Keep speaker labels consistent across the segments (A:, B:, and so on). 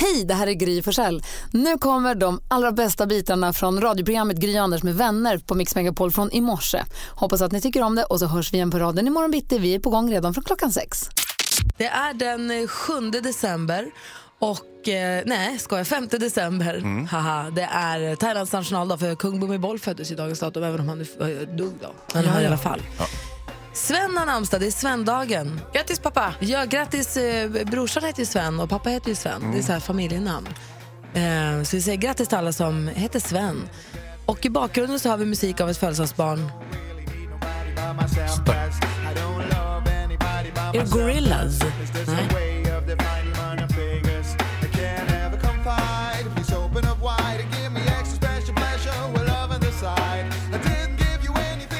A: Hej, det här är Gry Forssell. Nu kommer de allra bästa bitarna från radioprogrammet Gry Anders med vänner på Mix Megapol från i morse. Hoppas att ni tycker om det och så hörs vi igen på raden imorgon bitti. Vi är på gång redan från klockan sex.
B: Det är den eh, 7 december och, eh, nej skojar, 5 december. Haha, det är Thailands nationaldag för kung Bhumibol föddes i dagens datum även om han nu eh, dog då. Men han i alla fall. Sven har namnsdag, det är Svendagen. Grattis pappa! Ja, grattis. eh, Brorsan heter ju Sven och pappa heter ju Sven. Det är så här familjenamn. Eh, Så vi säger grattis till alla som heter Sven. Och i bakgrunden så har vi musik av ett födelsedagsbarn. Är det Gorillaz? Nej.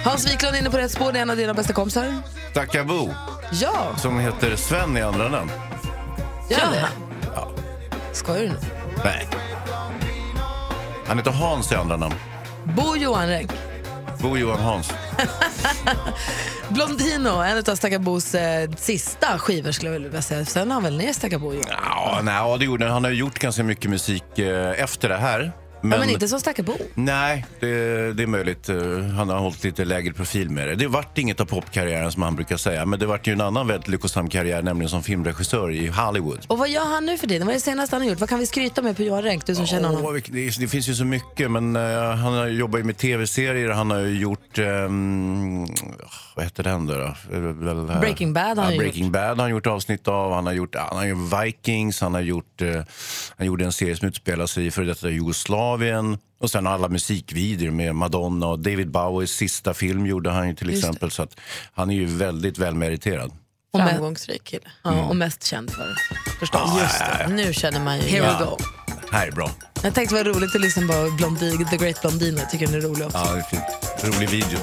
B: Hans Wiklund är inne på rätt spår, det är en av dina bästa kompisar.
C: Dakabo,
B: Ja,
C: som heter Sven i andra namn.
B: gör det. Skojar du nu?
C: Nej. Han heter Hans i andra namn.
B: Bo Johanrek,
C: Bo Johan Hans.
B: Blondino, en av Stackarbos eh, sista skivor skulle jag vilja säga. Sen har han väl ner Stackarbo ju. Ja,
C: Ja, nej, ja, det gjorde han. Han har ju gjort ganska mycket musik eh, efter det här. Men,
B: men inte som Stackarbo.
C: Nej, det, det är möjligt. Eh, Han har hållit lite lägre profil med det. Det vart inget av popkarriären som han brukar säga. Men det vart ju en annan väldigt lyckosam karriär, nämligen som filmregissör i Hollywood.
B: Och vad gör han nu för tiden? Vad är det senaste han har gjort? Vad kan vi skryta med på Johan Renck, du som känner honom?
C: Åh, vilk- det, det finns ju så mycket, men eh, han har jobbat ju med tv-serier. Han har ju gjort... ehm, vad heter den då? då? Eh, väl, eh,
B: Breaking Bad har
C: ja,
B: han ju
C: Breaking Bad har han gjort avsnitt av. Han har gjort, han har gjort Vikings, han har gjort... eh, han gjorde en serie som utspelar sig i före detta Jugoslavien. Och sen alla musikvideor med Madonna och David Bowies sista film gjorde han ju till exempel. Så att han är ju väldigt välmeriterad.
B: Och Mm. med-
D: Framgångsrik kille.
B: Ja, och mest känd för.
D: Förstås. Just det. Nu känner man ju...
B: Here we
C: Ja.
B: go.
C: Här är bra.
B: Jag tänkte det var roligt att lyssna på Blondin, The Great Blondino. Jag tycker den är rolig också.
C: Ja, det är fint. Rolig video.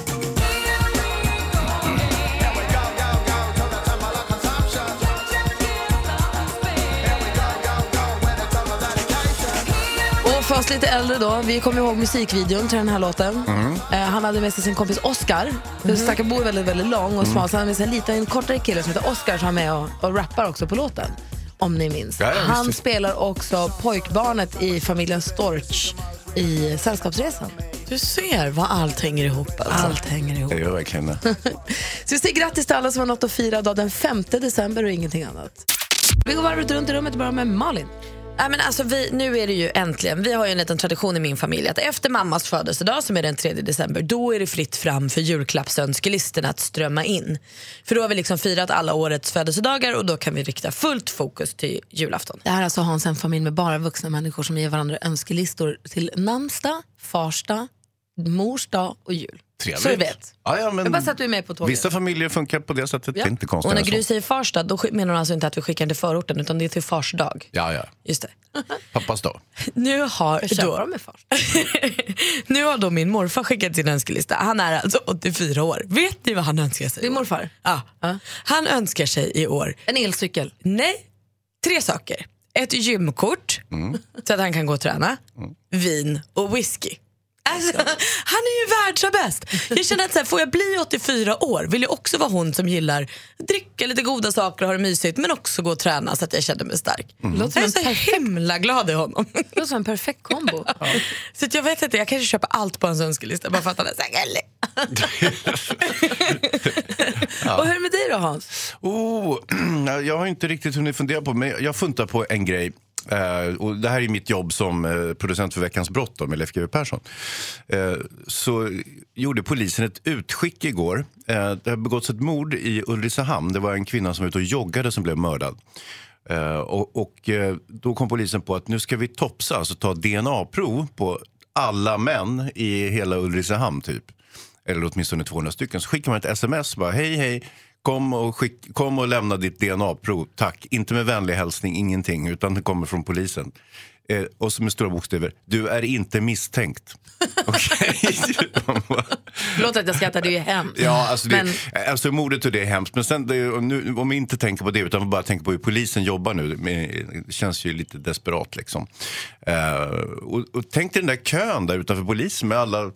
B: Och för oss lite äldre då, vi kommer ihåg musikvideon till den här låten.
C: Mm.
B: Eh, han hade med sig sin kompis Oscar. Mm. Stackarbo är väldigt, väldigt lång och
C: Mm.
B: smal, så han hade med sig en liten en kortare kille som heter Oscar som var med och, och rappar också på låten. Om ni minns.
C: Ja, ja, visst.
B: han spelar också pojkbarnet i familjen Storch i Sällskapsresan.
D: Du ser vad allt hänger ihop. Alltså.
B: Allt hänger ihop.
C: Det gör verkligen det.
B: Så vi säger grattis till alla som har något att fira idag den 5 december och ingenting annat. Vi går varvet runt i rummet och börjar med Malin.
D: Nej, men alltså vi, nu är det ju äntligen, vi har ju en liten tradition i min familj att efter mammas födelsedag som är den 3 december, då är det fritt fram för julklappsönskelisterna att strömma in. För då har vi liksom firat alla årets födelsedagar och då kan vi rikta fullt fokus till julafton.
B: Det här är alltså Hans en familj med bara vuxna människor som ger varandra önskelistor till namnsdag, farsdag, morsdag och jul.
C: Trevligt.
B: Så du vet.
C: Ja, ja, men
B: Jag bara så att du är med på tåget.
C: Mm. Vissa familjer funkar på det sättet. Det är inte konstigt. alltså.
D: Och när Gry säger Farsta, då sk- menar hon alltså inte att vi skickar den till förorten utan det är till farsdag.
C: Ja, ja.
D: Just det.
C: Pappas dag.
D: Nu har
B: Köpa
D: då...
B: dem med fars.
D: nu har då min morfar skickat sin önskelista. Han är alltså 84 år. Vet ni vad han önskar sig? i
B: Din
D: år?
B: morfar.
D: Ja. Han önskar sig i år,
B: En elcykel.
D: nej, tre saker. Ett gymkort så att han kan gå och träna, vin och whisky. Alltså, han är ju världsbäst. Jag känner att så här, får jag bli 84 år vill jag också vara hon som gillar att dricka lite goda saker och ha det mysigt men också gå och träna så att jag känner mig stark.
B: Låter
D: Jag är
B: som
D: så himla glad i honom.
B: Det låter som en perfekt kombo.
D: Så att jag vet inte, jag kanske köper allt på hans önskelista bara för att han är så här gullig.
B: Och hur är det med dig då Hans?
C: Oh, jag har inte riktigt hunnit fundera på men jag funtar på en grej. Eh, och det här är mitt jobb som eh, producent för Veckans brott då, med Leif GW Persson. Eh, så gjorde polisen ett utskick igår. Eh, det har begåtts ett mord i Ulricehamn. Det var en kvinna som var ute och joggade som blev mördad. Eh, och och eh, då kom polisen på att nu ska vi topsa, alltså ta DNA-prov på alla män i hela Ulricehamn typ. Eller åtminstone 200 stycken. Så skickar man ett sms bara hej hej, kom och, skick, kom och lämna ditt DNA-prov, tack. Inte med vänlig hälsning, ingenting, utan det kommer från polisen. eh, och så med stora bokstäver, du är inte misstänkt. Okej? Man bara,
D: Förlåt att jag skrattar, det är ju hemskt.
C: ja, alltså, det,
D: Men
C: alltså mordet och det är hemskt. Men sen, det, om nu, om vi inte tänker på det utan bara tänker på hur polisen jobbar nu, men, det känns ju lite desperat liksom. Eh, och, och tänk dig den där kön där utanför polisen med alla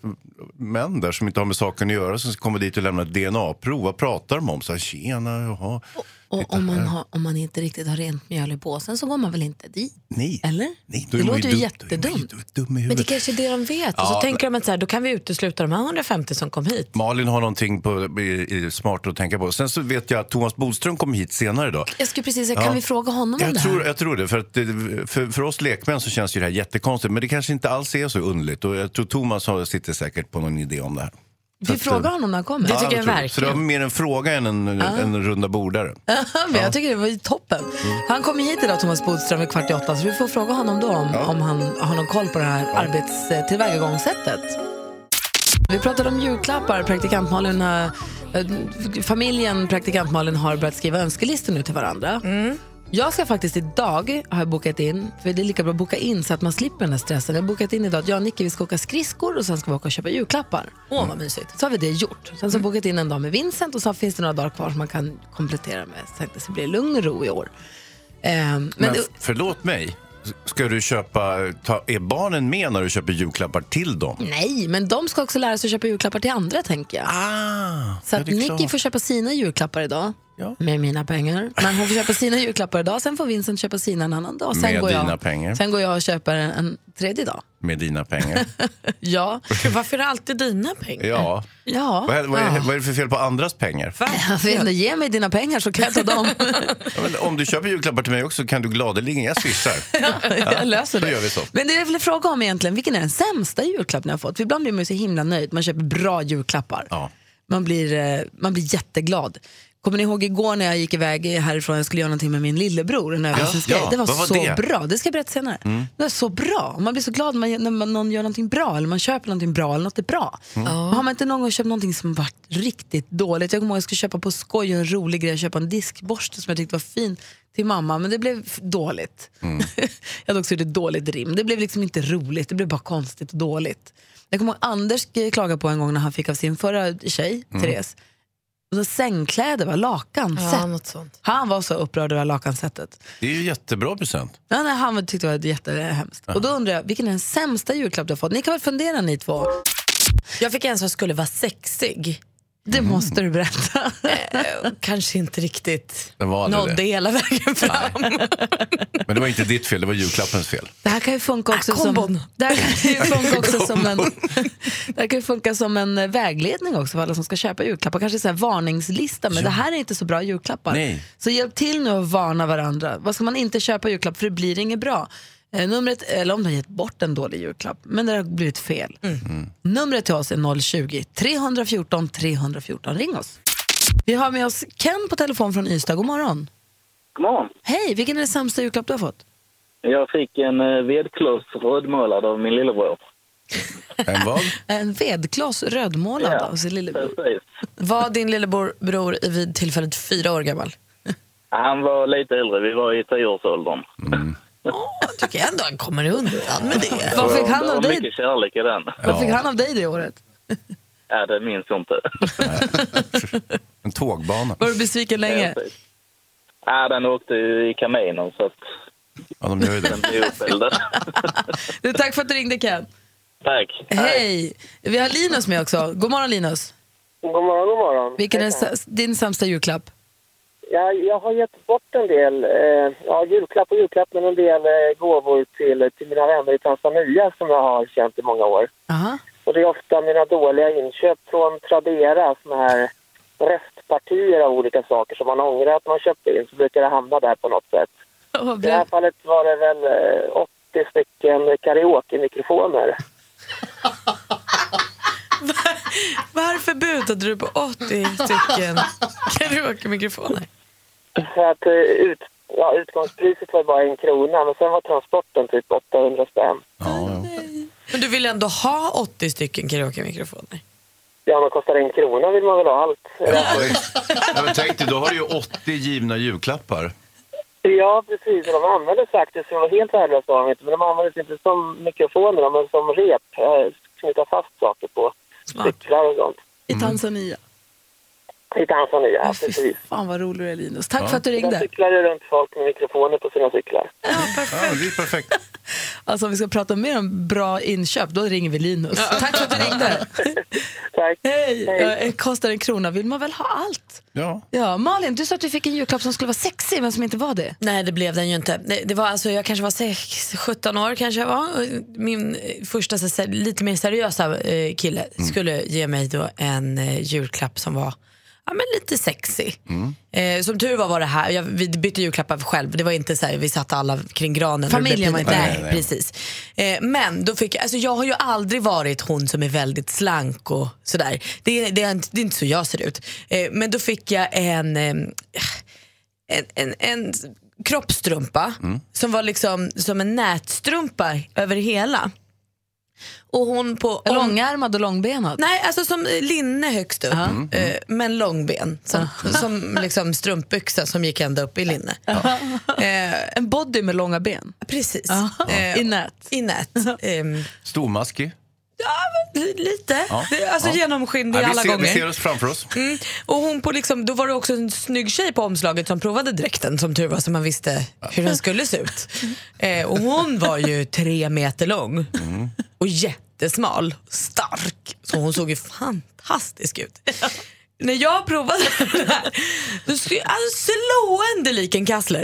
C: män där som inte har med saken att göra som kommer dit och lämnar ett DNA-prov. Vad pratar de om? Så här, Tjena, jaha.
D: och, om, man har, om man inte riktigt har rent mjöl i påsen så går man väl inte dit?
C: Nej.
D: Eller?
C: Nej,
D: det
C: då är man
D: låter ju
C: dum- Då är man
D: jättedumt.
C: ju dum i
D: Men det
C: huvudet.
D: kanske är det de vet. och så
C: Ja,
D: tänker de att så här, då kan vi utesluta de här 150 som kom hit.
C: Malin har någonting på, i, i, smart att tänka på. Sen så vet jag att Thomas Bodström kommer hit senare idag.
D: Jag skulle precis säga, kan
C: Ja.
D: vi fråga honom om
C: Jag
D: det
C: tror,
D: här?
C: jag tror det. För, att, det- för, för oss lekmän så känns ju det här jättekonstigt. Men det kanske inte alls är så underligt. Och jag tror Thomas har, sitter säkert på någon idé om det här. eh,
B: Vi frågar honom när han kommer.
D: Det tycker
C: tror
D: jag
C: Så det var
D: verkligen.
C: mer en fråga än en, en runda bordare.
B: Men jag tycker det var ju toppen. Han kommer hit idag, Thomas Bodström, vid kvart i åtta. Så vi får fråga honom då om, om han har någon koll på det här arbetstillvägagångssättet. Vi pratade om julklappar. Praktikant Malin, har- eh, familjen praktikant Malin har börjat skriva önskelistor nu till varandra. Jag ska faktiskt idag, har jag bokat in, för det är lika bra att boka in så att man slipper den här stressen. Jag har bokat in idag att jag och Nicky vi ska åka skridskor och sen ska vi åka och köpa julklappar. Åh vad mysigt. Så har vi det gjort. Sen så
C: Mm.
B: har jag bokat in en dag med Vincent och så finns det några dagar kvar som man kan komplettera med. Så att det blir lugn och ro i år. Ehm, men
C: Men,
B: det-
C: förlåt mig. Ska du köpa, ta, är barnen med när du köper julklappar till dem?
B: nej, men de ska också lära sig att köpa julklappar till andra tänker jag.
C: Ah,
B: Så
C: ja,
B: att
C: det är
B: Nicky
C: klart.
B: får köpa sina julklappar idag.
C: Ja.
B: Med mina pengar. Men hon får köpa sina julklappar idag, sen får Vincent köpa sina en annan dag. Sen
C: Med
B: går jag,
C: dina pengar.
B: Sen går jag och köper en, en tredje dag.
C: Med dina pengar.
B: Ja.
D: Gud, varför är det alltid dina pengar?
C: Ja.
B: Ja.
C: Vad, är, vad,
D: Ah.
C: är, vad är det för fel på andras pengar?
B: Jag vet inte, ge mig dina pengar så kan jag ta dem.
C: Ja, men om du köper julklappar till mig också kan du gladeligen, jag swishar.
B: jag löser
C: då
B: det.
C: gör vi så.
B: Men det jag ville fråga om egentligen, vilken är den sämsta julklapp ni har fått? För ibland blir man ju så himla nöjd, man köper bra julklappar.
C: Ja.
B: Man, blir, eh, man blir jätteglad. Kommer ni ihåg igår när jag gick iväg härifrån, jag skulle göra någonting med min lillebror, en överraskningsgrej.
C: ja.
B: Alltså, det var,
C: Vad var
B: så
C: det? Mm.
B: bra, det ska jag berätta senare. Det var så bra, Och man blir så glad när, man, när man, någon gör någonting bra eller man köper någonting bra eller något är bra.
C: Mm.
B: Men Har man inte någon gång köpt någonting som varit riktigt dåligt? Jag kommer ihåg jag skulle köpa på skoj en rolig grej, köpa en diskborste som jag tyckte var fin till mamma, men det blev f- dåligt.
C: Mm.
B: jag hade också gjort ett dåligt rim. Det blev liksom inte roligt, det blev bara konstigt och dåligt. Jag kommer ihåg Anders eh, klagade på en gång när han fick av sin förra tjej,
C: Mm.
B: Therese, och så sängkläder, va? lakansätt.
D: Ja, något sånt.
B: Han var så upprörd över lakansättet.
C: Det är ju jättebra present.
B: Ja, nej, han tyckte det var jättehemskt. Och då undrar jag, vilken är den sämsta julklapp du har fått? Ni kan väl fundera ni två?
D: Jag fick en som skulle vara sexig.
B: Det måste du berätta.
D: Eh, Kanske inte riktigt
C: Den var aldrig
D: nådde
C: det.
D: hela vägen fram.
C: Men det var inte ditt fel, det var julklappens fel.
B: Det här kan ju funka också
D: Ah,
B: som...
D: kombon.
B: Det här kan ju funka också som en... Det här kan ju funka som en eh, vägledning också för alla som ska köpa julklappar. Kanske så här varningslista, men det här är inte så bra julklappar.
C: Nej.
B: Så hjälp till nu att varna varandra. Vad ska man inte köpa i julklapp för det blir inget bra? Eh, numret, eller om du har gett bort en dålig julklapp, men det har blivit fel.
D: Mm.
B: Numret till oss är 020-314 314. Ring oss. Vi har med oss Ken på telefon från Ystad. God morgon.
E: God morgon.
B: Hej, vilken är den sämsta julklapp du har fått?
E: Jag fick en eh, vedkloss rödmålad av min lillebror.
C: En vad?
B: En vedkloss rödmålad av sin lillebror.
E: Precis.
D: Var din lillebror bror i vid tillfället fyra år gammal?
E: Han var lite äldre, vi var i tioårsåldern.
D: Jag tycker ändå han kommer undan med det.
B: Vad fick han
E: det
B: av
E: var
B: dig?
E: mycket kärlek i den.
B: Vad fick han av dig det året?
E: Ja, det minns jag inte.
C: En tågbana.
B: Var du besviken länge?
E: Ja, Äh, den åkte ju i kaminen så att
C: Ja, de gör ju det.
E: den blev uppfälld.
B: Du, tack för att du ringde Ken.
E: Tack.
B: Hej! Vi har Linus med också. God morgon Linus.
F: God morgon, god morgon.
B: Vilken är sa- din sämsta julklapp?
F: Jag, jag har gett bort en del, eh, ja julklapp och julklapp, men en del eh, gåvor till, till mina vänner i Tanzania som jag har känt i många år.
B: Aha.
F: Och det är ofta mina dåliga inköp från Tradera, såna här restpartier av olika saker som man ångrar att man köpte in, så brukar det hamna där på något sätt.
B: Vad
F: I det här
B: blev-
F: fallet var det väl eh, 80 stycken karaoke-mikrofoner.
D: Varför butade du på 80 stycken karaoke-mikrofoner?
F: För att eh, ut, ja, utgångspriset var bara en krona, men sen var transporten typ 800 spänn.
C: Ja,
D: Men du vill ändå ha 80 stycken karaoke-mikrofoner?
F: Ja, men kostar en krona vill man väl ha allt.
C: ja. Ja, men tänk dig, då har du ju 80 givna julklappar.
F: Ja, precis. Och de användes faktiskt, de var helt värdelösa av inte, men de användes inte som mikrofoner, men som rep. eh, Knyta fast saker på. Cyklar och sånt.
B: I Tanzania.
F: I Tanzania,
B: Ja,
F: ja,
B: fy
F: precis.
B: fan vad rolig du är Linus. Tack
C: Ja.
B: för att du
F: De
B: ringde.
F: cyklade runt folk med mikrofoner på sina cyklar.
C: Ja, det är perfekt.
B: Alltså om vi ska prata mer om bra inköp, då ringer vi Linus. Tack för att du ringde.
F: Tack.
B: Hej! Eh, Kostar en krona vill man väl ha allt?
C: Ja.
B: Ja, Malin, du sa att du fick en julklapp som skulle vara sexig men som inte var det.
D: Nej det blev den ju inte. Det, det var alltså, jag kanske var sex, 17 år kanske jag var. Och Min eh, första så, här, lite mer seriösa eh, kille
B: Mm.
D: skulle ge mig då en eh, julklapp som var ja, men lite sexy. Eh, som tur var var det här, jag, vi bytte julklappar själv. Det var inte så här, vi satt alla kring granen. och det blev
B: Familjen var
D: pinsamt.
B: inte
D: nej, precis. Eh, men då fick jag, alltså, jag har ju aldrig varit hon som är väldigt slank och sådär. Det, det, är inte- det är inte så jag ser ut. Eh, men då fick jag en eh, en, en, en kroppstrumpa
B: Mm.
D: som var liksom som en nätstrumpa över hela. Och hon på... om-
B: Långärmad och långbenad.
D: Nej, alltså som linne högst upp, eh, men långben. Som, som liksom strumpbyxa som gick ända upp i linne. Eh,
B: En body med långa ben.
D: precis. Eh,
B: Ja. I nät.
D: I nät. Ehm,
C: Stormaskig.
D: li- lite.
C: Ja.
D: Det- Alltså
C: Ja.
D: genomskinlig
C: Ja, vi,
D: alla
C: ser, vi
D: gånger.
C: ser oss framför oss.
D: Mm. Och hon på liksom, då var det också en snygg tjej på omslaget som provade dräkten som tur var så man visste hur den skulle se ut. Eh, och hon var ju tre meter lång och jättesmal, stark. Så hon såg ju fantastisk ut. När jag provade den här, då skulle jag alltså, slående lik en kassler.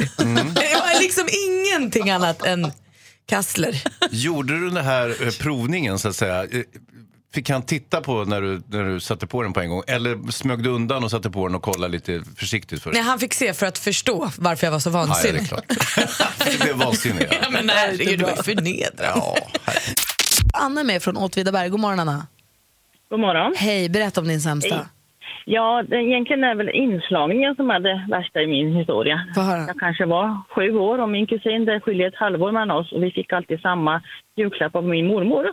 D: Det var liksom ingenting annat än kassler.
C: Gjorde du den här eh, provningen, så att säga? eh, Fick han titta på när du, när du satte på den på en gång? Eller smög du undan och satte på den och kollade lite försiktigt först?
D: Nej, han fick se för att förstå varför jag var så
C: Ja, ja, det
D: vansinnig.
C: är klart. det blev vansinnigt.
D: Ja, men herregud, det var ju förnedrande.
C: Ja, herregud.
B: Anna är med från Åtvidaberg. God morgon Anna.
G: God morgon.
B: Hej, berätta om din sämsta.
G: Hej. Ja, det, egentligen är väl inslagningen som är det värsta i min historia.
B: Få höra.
G: Jag kanske var sju år och min kusin det skiljer ett halvår mellan oss och vi fick alltid samma julklapp av min mormor.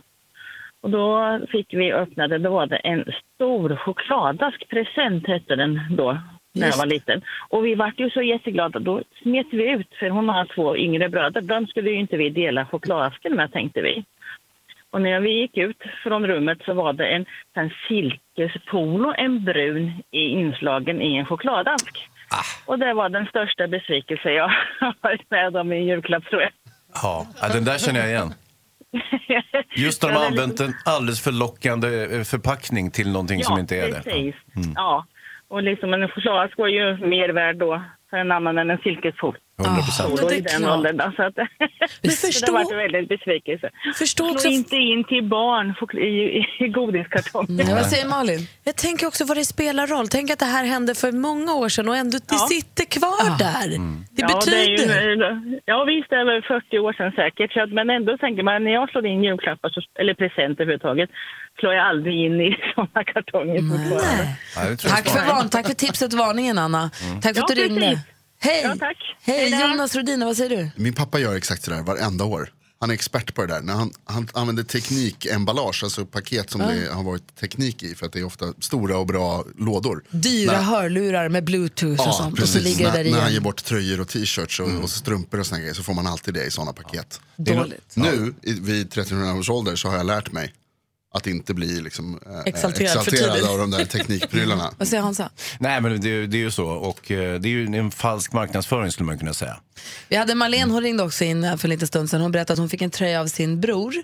G: Och då fick vi öppnade, då var det en stor chokladask present hette den då när jag var liten. Och vi vart ju så jätteglada, då smet vi ut för hon har två yngre bröder, de skulle ju inte vi dela chokladasken med tänkte vi. Och när vi gick ut från rummet så var det en, en silkespolo, en brun, i inslagen i en chokladask. Och det var den största besvikelse jag har varit med om i en julklapp tror jag.
C: Ja, ja, den där känner jag igen. Just när de har använt en alldeles för lockande eh, förpackning till någonting som inte är
G: precis.
C: det.
G: Ja, och liksom en chokladask var ju mer värd då för en annan än en silkespolo
C: 100 procent.
G: i den åldern. då, Så att, så det
D: förstå-
G: var en väldigt besvikelse.
D: Förstå också-
G: Slå inte in till barn choklad- i, i, i godiskartongen.
B: Vad säger Malin?
D: Jag tänker också vad det spelar roll. Tänk att det här hände för många år sedan och ändå det sitter kvar där. Det betyder...
G: Ja, det är ju, ja visst, det är väl 40 år sedan säkert. Så att, men ändå tänker man, när jag slår in julklappar, så, eller presenter överhuvudtaget, slår jag aldrig in i sådana kartonger fortfarande.
C: Ja, det tror jag
B: Tack för,
C: svarar.
B: varn, tack för tipset och varningen Anna. Tack för
G: Ja,
B: att du
G: precis.
B: ringde. Hej!
G: Ja, tack.
B: Hej,
G: Hej då.
B: Jonas Rodina, vad säger du?
H: Min pappa gör exakt sådär varenda år. Han är expert på det där. När han, han använder teknikemballage, alltså paket som det har varit teknik i för att det är ofta stora och bra lådor.
B: Dyra
H: När-
B: hörlurar med bluetooth och
H: Ja,
B: sånt. Och så
H: precis.
B: ligger det
H: När,
B: där
H: när han ger
B: igen.
H: bort tröjor och t-shirts och,
D: Mm.
H: och strumpor och såna grejer så får man alltid det i sådana paket.
B: Dåligt.
H: Nu i- vid 31 års ålder så har jag lärt mig att inte bli liksom, eh,
D: Exalterad för tidigt.
H: exalterad av de där teknikprylarna.
B: Vad säger Hansa?
C: Nej, men det, det är ju så. Och eh, det är ju en falsk marknadsföring skulle man kunna säga.
B: Vi hade Malene, hon ringde också in här för en liten stund sedan. Hon berättade att hon fick en tröja av sin bror.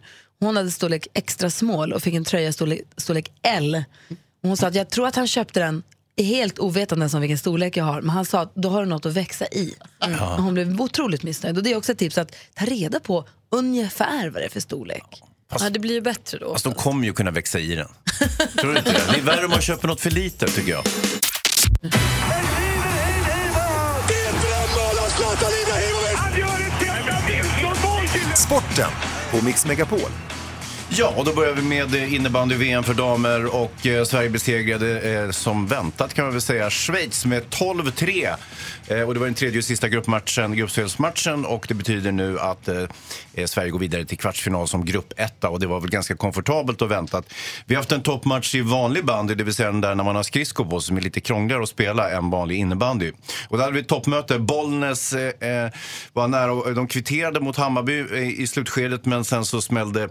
B: Hon hade storlek extra small och fick en tröja storlek, storlek L. Och Hon sa att jag tror att han köpte den helt ovetande om vilken storlek jag har. Men han sa att då har du något att växa i. Och Hon blev otroligt missnöjd. Och det är också ett tips att ta reda på ungefär vad det är för storlek.
D: Ja, det blir ju bättre då.
C: Alltså, de kommer ju kunna växa i den. Tror du inte det? Det är värre om man köper något för lite, tycker jag.
I: Sporten på Mix Megapol.
C: Ja, och då börjar vi med eh, innebandy-VM för damer och eh, Sverige besegrade eh, som väntat kan man väl säga Schweiz med 12-3. Eh, och det var den tredje och sista gruppmatchen, gruppspelsmatchen och det betyder nu att eh, eh, Sverige går vidare till kvartsfinal som gruppetta och det var väl ganska komfortabelt och väntat. Vi har haft en toppmatch i vanlig bandy, det vill säga den där när man har skridskor på som är lite krångligare att spela än vanlig innebandy. Och där hade vi ett toppmöte. Bollnäs eh, eh, var nära, de kvitterade mot Hammarby eh, i slutskedet men sen så smällde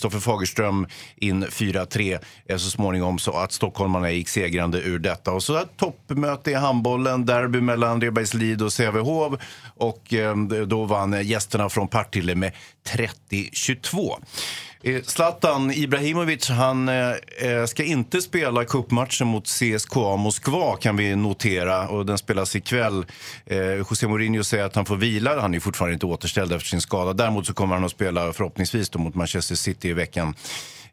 C: Kristoffer Fagerström in 4-3 eh, så småningom så att stockholmarna gick segrande ur detta. Och så ett toppmöte i handbollen, derby mellan Rebergslid och Sävehof och eh, då vann eh, gästerna från Partille med 30-22. Eh, Zlatan Ibrahimovic han eh, eh, ska inte spela cupmatchen mot CSKA Moskva kan vi notera och den spelas ikväll. Eh, José Mourinho säger att han får vila, han är fortfarande inte återställd efter sin skada. Däremot så kommer han att spela förhoppningsvis då mot Manchester City i veckan.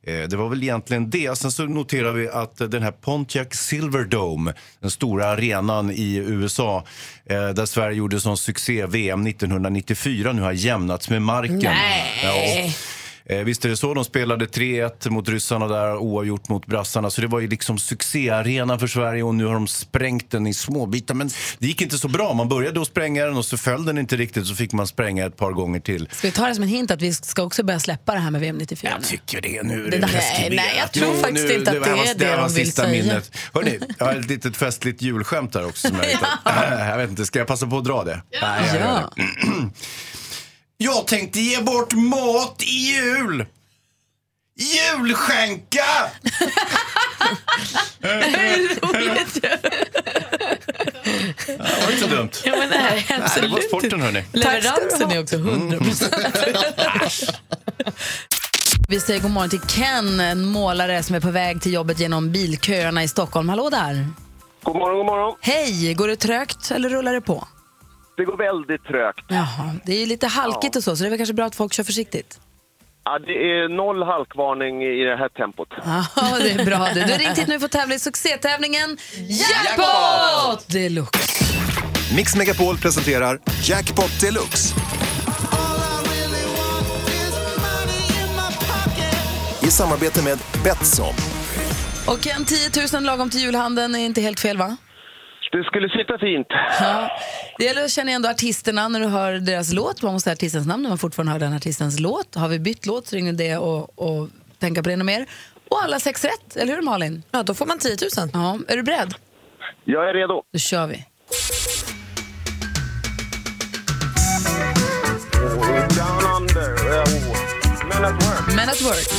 C: Eh, Det var väl egentligen det. Sen så noterar vi att eh, den här Pontiac Silverdome, den stora arenan i USA eh, där Sverige gjorde sån succé VM 1994, nu har jämnats med marken.
D: Nej.
C: Ja. Eh, visst är det så. De spelade 3-1 mot ryssarna där, oavgjort mot brassarna. Så det var ju liksom succéarena för Sverige och nu har de sprängt den i små bitar. Men det gick inte så bra. Man började att spränga den och så föll den inte riktigt. Så fick man spränga ett par gånger till.
B: Ska vi ta det som en hint att vi ska också börja släppa det här med VM 94? Jag
C: tycker det nu. är
B: Det där-
C: preskriberat.
B: nej, jag tror
C: Jo,
B: faktiskt inte att det
C: var-
B: är det
C: var
B: de vill
C: sista
B: säga.
C: Minnet. Hörrni, jag har ett litet festligt julskämt här också. Som jag, hittat. jag vet inte, ska jag passa på att dra det? Ja. Nej, jag gör det. Jag tänkte ge bort mat i jul. Julskänka! Det var inte så dumt.
D: Ja, men nej,
C: Nej, det var
D: absolut.
C: sporten, hörni.
B: Leveransen är också 100 Vi säger god morgon till Ken, en målare som är på väg till jobbet genom bilköerna i Stockholm. Hallå där!
F: God morgon, god morgon.
B: Hej! Går det trögt eller rullar det på?
F: Det går väldigt trögt.
B: Jaha, det är ju lite halkigt och så, så det är väl kanske bra att folk kör försiktigt.
F: Ja, det är noll halkvarning i det här tempot.
B: Ja, det är bra du. Du har ringt hit nu för att tävla i succétävlingen Jackpot! Det är Luke.
J: Mix Megapol presenterar Jackpot Deluxe. I samarbete med Betsson.
B: Och Ken, 10 000 lagom till julhandeln är inte helt fel va?
F: Det skulle sitta fint.
B: Ja. Det gäller att känna igen då artisterna när du hör deras låt. Man måste ha artistens namn när man fortfarande hör den artistens låt. Har vi bytt låt så ringer det och, och tänka på det ännu mer. Och alla sex rätt, eller hur Malin? Ja, då får man 10 000. Ja. Är du beredd?
F: Jag är redo.
B: Då kör vi.
F: Down under. eh, Men att work.
B: Men at work.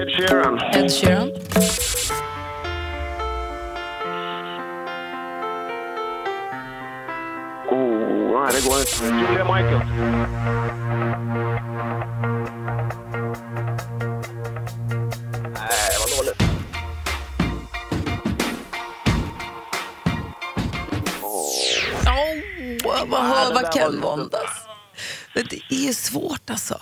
F: Ed Sheeran.
B: Ed Sheeran.
F: Oh, nej, det går inte. Julia Michaels. Nej, vad dåligt.
B: Åh, vad hör vad Ken våndas. Men Det är ju svårt alltså.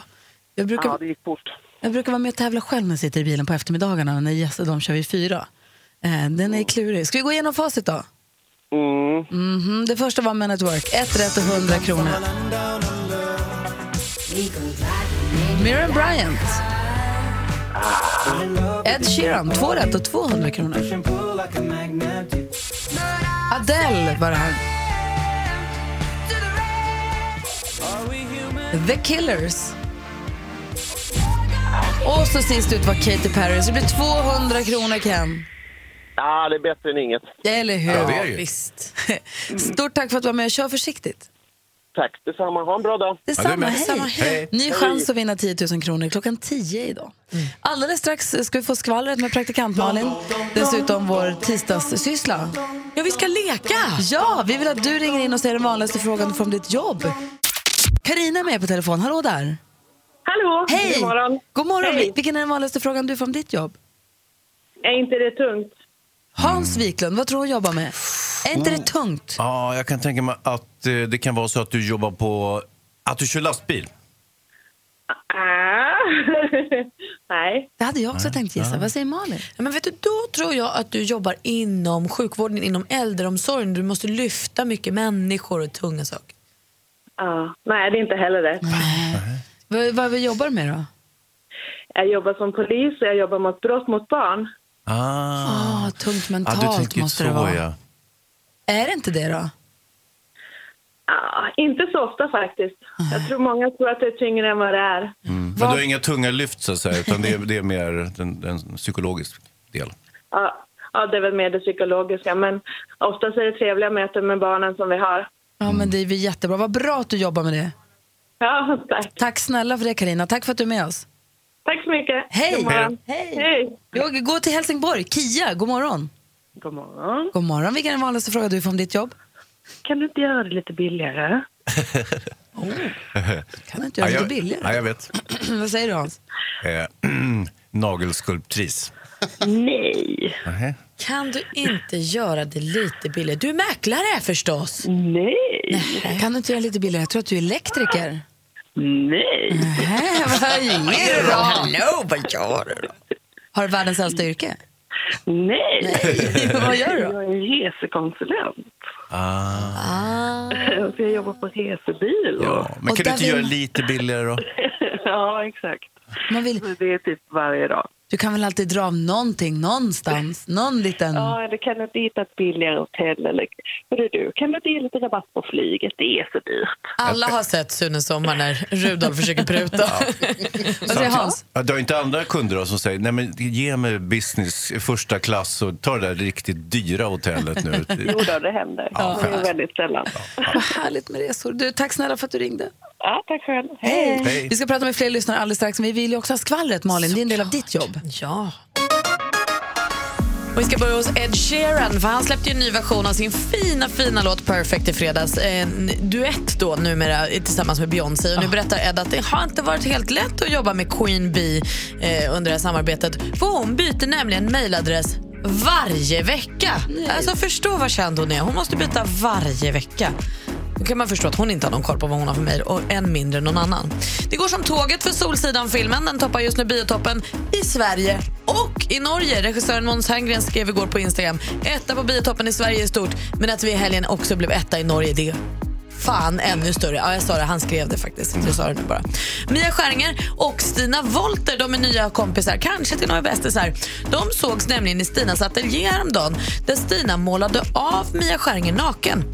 B: Jag brukar,
F: Ja, det gick fort.
B: jag brukar vara med och tävla själv när jag sitter i bilen på eftermiddagarna. När yes, de kör vi fyra. Eh, Den är klurig. Ska vi gå igenom facit då?
F: Mm.
B: Mhm, Det första var Men at Work. Ett rätt och 100 kronor. Miriam Bryant. Ed Sheeran. Två rätt och 200 kronor. Adele var det här. The Killers. Och så sist ut var Katy Perry. Så det blir 200 kronor, Ken.
F: Ja, Ah, det är bättre än inget.
B: Eller hur?
F: Ja, det är ju.
B: Visst. Stort tack för att du var med. Kör försiktigt.
F: Tack detsamma. Ha en bra dag.
B: Detsamma, hej. Mm.
F: hej.
B: Ny chans att vinna 10 000 kronor klockan 10 idag. Alldeles strax ska vi få skvallret med praktikant Malin. Dessutom vår tisdagssyssla. Ja, vi ska leka! Ja, vi vill att du ringer in och säger den vanligaste frågan du får om ditt jobb. Karina är med på telefon. Hallå där!
K: Hallå!
B: Hej!
K: God morgon.
B: God morgon.
K: Hej.
B: Vilken är den vanligaste frågan du får om ditt jobb?
K: Är inte det tungt?
B: Hans Wiklund, vad tror du hon jobbar med? Är inte det tungt?
C: Ja, jag kan tänka mig att eh, det kan vara så att du jobbar på... Att du kör lastbil.
K: Ah, Nej.
B: Det hade jag också tänkt gissa. Vad säger Malin?
D: Ja, men vet du, då tror jag att du jobbar inom sjukvården, inom äldreomsorgen. Du måste lyfta mycket människor och tunga saker.
K: Ja. Ah. Nej, det är inte heller det.
B: Vad, vad jobbar du med då?
K: Jag jobbar som polis och jag jobbar mot brott mot barn.
B: Ah, tungt mentalt
C: ja, du tänker
B: måste
C: så,
B: det vara.
C: Ja.
B: Är det inte det då?
K: Ja, Ah, inte så ofta faktiskt. Jag tror många tror att det är tyngre än vad det är.
C: Mm. Men du har inga tunga lyft så att säga, utan det är, det är mer en, en psykologisk del.
K: Ja, ja, det är väl mer det psykologiska, men oftast är det trevliga möten med barnen som vi har.
B: Ja,
C: Mm.
B: men det är väl jättebra. Vad bra att du jobbar med det.
K: Ja, tack.
B: Tack snälla för det Karina. Tack för att du är med oss.
K: Tack så mycket.
B: Hej!
K: God morgon.
B: Hej!
K: Hej.
B: Jag går till Helsingborg. Kia, god morgon.
K: God morgon.
B: God morgon. Vilken är den vanligaste frågan du får om ditt jobb?
K: Kan du inte göra det lite billigare?
B: Kan du inte göra
C: Ja,
B: lite billigare?
C: Ja, jag vet.
B: Vad säger du Hans?
C: Eh, nagelskulptris.
K: Nej.
C: Nähä.
D: Kan du inte göra det lite billigare? Du är mäklare förstås.
K: Nej.
B: Kan du inte göra lite billigare? Jag tror att du är elektriker.
K: Nej.
B: Nej, vad är det då?
D: Hallå, vad gör du då?
B: Har du världens äldsta yrke?
K: Nej.
B: Vad gör du då?
K: Jag är resekonsulent.
C: Ah.
K: Så jag jobbar på resebyrå.
C: Ja, men kan
K: Och
C: du
K: där
C: inte
K: vill-
C: göra lite billigare då?
K: ja, exakt.
B: Man vill...
K: Det är typ varje dag.
B: Du kan väl alltid dra av någonting någonstans? Någon liten...
K: Ja, eller kan du inte hitta ett billigare hotell? Eller, hörru du, kan du inte ge lite rabatt på flyget? Det är så dyrt.
D: Alla har sett Sunes sommar när Rudolf försöker pruta. Vad säger
C: Samtidigt-
D: Hans?
C: Ja, Du har inte andra kunder då som säger nej men ge mig business första klass och ta det där riktigt dyra hotellet nu.
K: Jo då, det händer.
C: Ja,
K: det är
C: skönt.
K: väldigt sällan.
B: Vad härligt med resor. Du, tack snälla för att du ringde.
K: Ja, tack själv.
B: Hej.
C: Hej.
B: Vi ska prata med fler lyssnare alldeles strax, men vi vill ju också ha skvallret, Malin. Det är en del av ditt jobb.
D: Ja. Och vi ska börja hos Ed Sheeran, för han släppte ju en ny version av sin fina, fina låt Perfect i fredags. Eh, En duett då numera tillsammans med Beyoncé. Och nu berättar Ed att det har inte varit helt lätt att jobba med Queen Bee eh, under det här samarbetet. För hon byter nämligen mailadress varje vecka. Alltså förstå vad känd hon är. Hon måste byta varje vecka. Då kan man förstå att hon inte har någon koll på vad hon har för mejl och än mindre någon annan. Det går som tåget för Solsidan-filmen. Den toppar just nu biotoppen i Sverige och i Norge. Regissören Måns Herngren skrev igår på Instagram etta på biotoppen i Sverige är stort men att vi i helgen också blev etta i Norge det är fan ännu större. Ja, jag sa det. Han skrev det faktiskt. Jag sa det nu bara. Mia Skäringer och Stina Volter, de är nya kompisar. Kanske till några bästisar. De sågs nämligen i Stinas ateljé häromdagen där Stina målade av Mia Skäringer naken.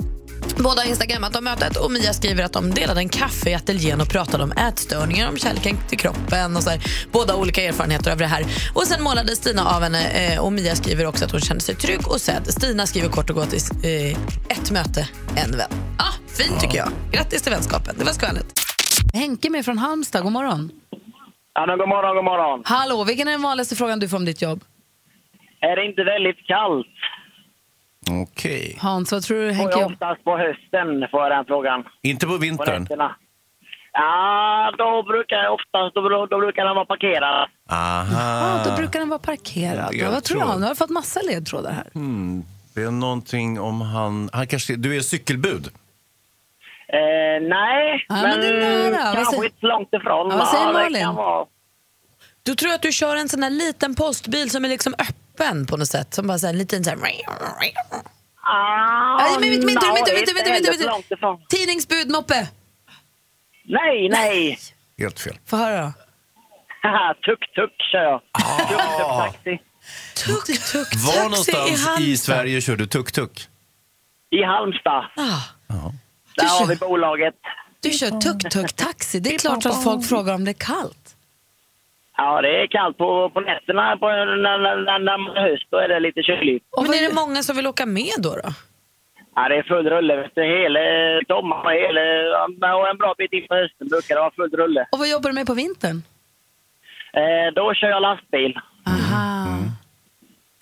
D: Båda har instagrammat om mötet och Mia skriver att de delade en kaffe i ateljén och pratade om ätstörningar, om kärleken till kroppen och så här. Båda har olika erfarenheter av det här. Och sen målade Stina av henne eh, och Mia skriver också att hon kände sig trygg och sedd. Stina skriver kort och gott i eh, ett möte, en vän. Ah, fint tycker jag. Grattis till vänskapen. Det var skvallret.
B: Henke är med från Halmstad, god morgon.
F: Ja, men god morgon, god morgon.
B: Hallå, vilken är den vanligaste frågan du får om ditt jobb?
F: Är det inte väldigt kallt?
C: Okej.
B: Hans, vad tror du
F: Får
B: Henke
F: jag
B: jobb?
F: oftast på hösten, får jag den frågan.
C: Inte på
F: På
C: vintern?
F: nätterna. Ja, då brukar jag oftast, då, bru- då brukar den vara parkerad.
C: Aha.
B: Ja, då brukar den vara parkerad.
C: Jag
B: vad tror du
C: tror-
B: Hans? Nu har du fått massa ledtrådar här.
C: hmm. Det är någonting om han... han kanske, du är cykelbud?
F: Eh, nej,
B: Ja, men det är nära. Vad
F: kanske
B: säger-
F: inte så långt ifrån.
B: Ja, vad säger
F: det
B: Malin?
F: kan vara.
D: Du tror att du kör en sån här liten postbil som är liksom öppen på något sätt. Som bara så här, en liten så här...
F: Ah,
B: Nej, men vänta, vänta,
F: nej,
B: vänta,
F: det är
B: vänta,
F: inte
B: vänta,
F: heller
B: vänta.
F: så långt ifrån.
B: Tidningsbud, Moppe!
F: Nej, nej.
C: Helt fel.
B: Få höra då.
F: Haha, Tuk-tuk kör jag.
C: Ah.
F: Tuk-tuk-taxi.
D: Tuk-tuk
C: Var någonstans i, Sverige kör du tuk-tuk?
F: I Halmstad.
B: Ah,
F: Där har vi bolaget.
B: du kör tuk-tuk-taxi. Det är klart att folk frågar om det är kallt.
F: Ja, det är kallt på, på nätterna. På, när, när, när, när man är höst, då är det lite kyligt.
D: Men är det många som vill åka med då? då?
F: Ja, det är full rulle. vet du. Hela sommaren hela, och en bra bit in på hösten brukar det vara full rulle.
B: Och vad jobbar du med på vintern?
F: Eh, då kör jag lastbil.
B: Aha.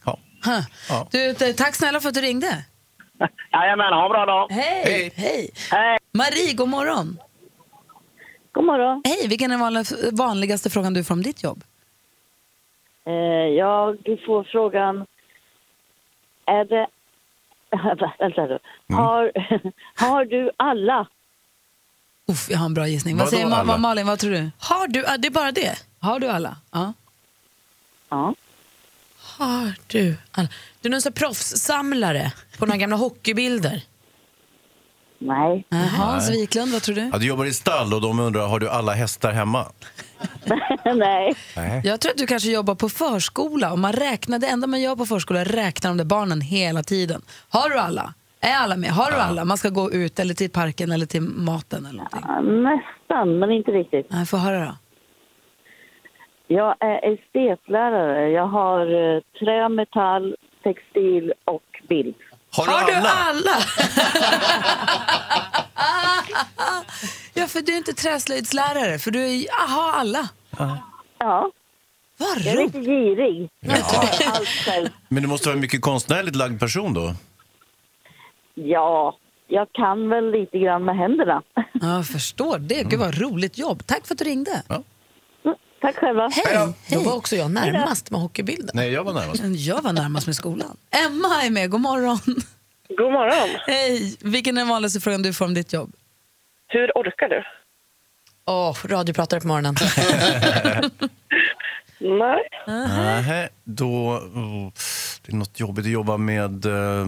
C: Ja.
B: Huh. Du, t- tack snälla för att du ringde.
F: Jajamän, ha en bra dag.
B: Hej! Hej!
F: Hej.
B: Marie, god morgon.
L: God morgon.
B: Hej, vilken är den vanlig- vanligaste frågan du får om ditt jobb?
L: Eh, jag får frågan... Är det... Vänta nu. Har, har du alla?
B: Uff, jag har en bra gissning. Vad
L: Vadå
B: säger Ma-
L: alla?
B: Malin, vad tror du?
D: Har du, ja, det är bara det?
B: Har du alla? Ja.
L: Ja.
D: Har du alla? Du är någon sån här proffssamlare på några gamla hockeybilder.
L: Nej.
B: Hans
C: Nej.
B: Wiklund, vad tror du?
C: Ja, du jobbar i stall och de undrar, har du alla hästar hemma?
L: Nej.
C: Nej.
B: Jag tror att du kanske jobbar på förskola. Och man räknar, det enda man gör på förskola är att räkna de där barnen hela tiden. Har du alla? Är alla med? Har du alla? Man ska gå ut eller till parken eller till maten eller någonting.
L: Ja, Nästan, men inte riktigt.
B: Nej, får höra då.
L: Jag är estetlärare. Jag har eh, trä, metall, textil och bild.
C: Har
L: du alla?
B: Ja, för du är inte träslöjdslärare, för du är aha, alla.
L: Ja.
B: Vad
L: Jag är lite girig.
C: Men du måste vara en mycket konstnärligt lagd person då?
L: Ja, jag kan väl lite grann med händerna.
B: Ja, jag förstår det. Gud, vad
L: Mm.
B: roligt jobb. Tack för att du ringde.
L: Tack själva.
B: Hej! Då var också jag närmast med hockeybilden.
C: Nej, jag var närmast.
B: Jag var närmast med skolan. Emma är med. God morgon.
M: God morgon.
B: Hej! Vilken är den vanligaste frågan du får om ditt jobb?
M: Hur orkar du?
D: Åh, radiopratare på morgonen.
M: Nej.
C: Nej, då... oh, Det är något jobbigt att jobba med eh,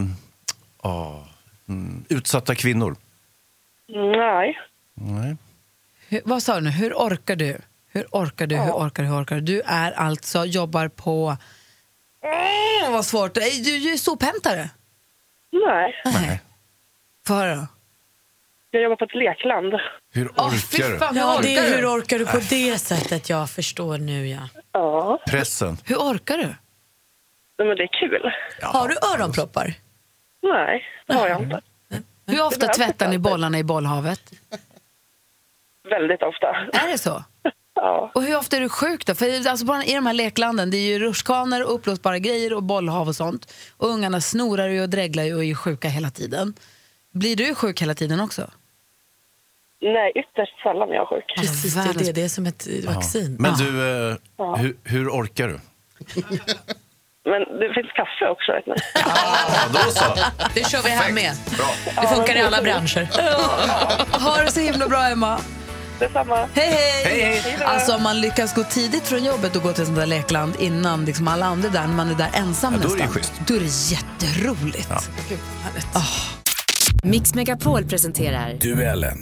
C: ah, mm, utsatta kvinnor.
M: Nej.
C: Nej.
B: Hur, vad sa du nu? Hur orkar du? Hur orkar du? Hur orkar du? Hur orkar du? Du är alltså, jobbar på... Åh, vad svårt. Nej, Du, du är sophämtare.
M: Nej.
C: Nej.
B: Få höra då.
M: Jag jobbar på ett lekland.
C: Hur orkar du?
D: Ja, det är hur
B: du?
D: orkar du på
C: Nej.
D: det sättet? Jag förstår nu, ja.
M: Ja.
C: Pressen.
B: Hur orkar du?
M: Nej, Men det är kul.
D: Har du öronproppar?
M: Nej, det har jag inte.
B: Hur ofta tvättar ni bollarna i bollhavet?
M: Väldigt ofta.
B: Är det så?
M: Ja.
B: Och hur ofta är du sjuk då? För alltså bara i de här leklanden, det är ju rutschkanor och uppblåsbara grejer och bollhav och sånt. Och ungarna snorar ju och dreglar ju och är ju sjuka hela tiden. Blir du sjuk hela tiden också?
M: Nej, ytterst sällan jag är sjuk.
D: Precis, det är det. Det är som ett eh,
C: Ja.
D: vaccin.
C: Men du, eh,
M: Ja.
C: hur, hur orkar du?
M: Men det finns kaffe också, vet ni.
C: Ja, då så.
D: Det kör vi här med.
M: Ja,
D: Det funkar i
M: men-
D: alla branscher.
B: Ha det så himla bra, Emma.
M: Detsamma.
B: Hej, hej!
M: Hej, hej.
B: Alltså om man lyckas gå tidigt från jobbet och gå till sånt där lekland innan liksom alla andra är där, när man är där ensam
N: Ja, då är det
B: nästan.
N: ju schysst.
B: Då är det jätteroligt.
O: Mix Megapol presenterar...
P: Duellen.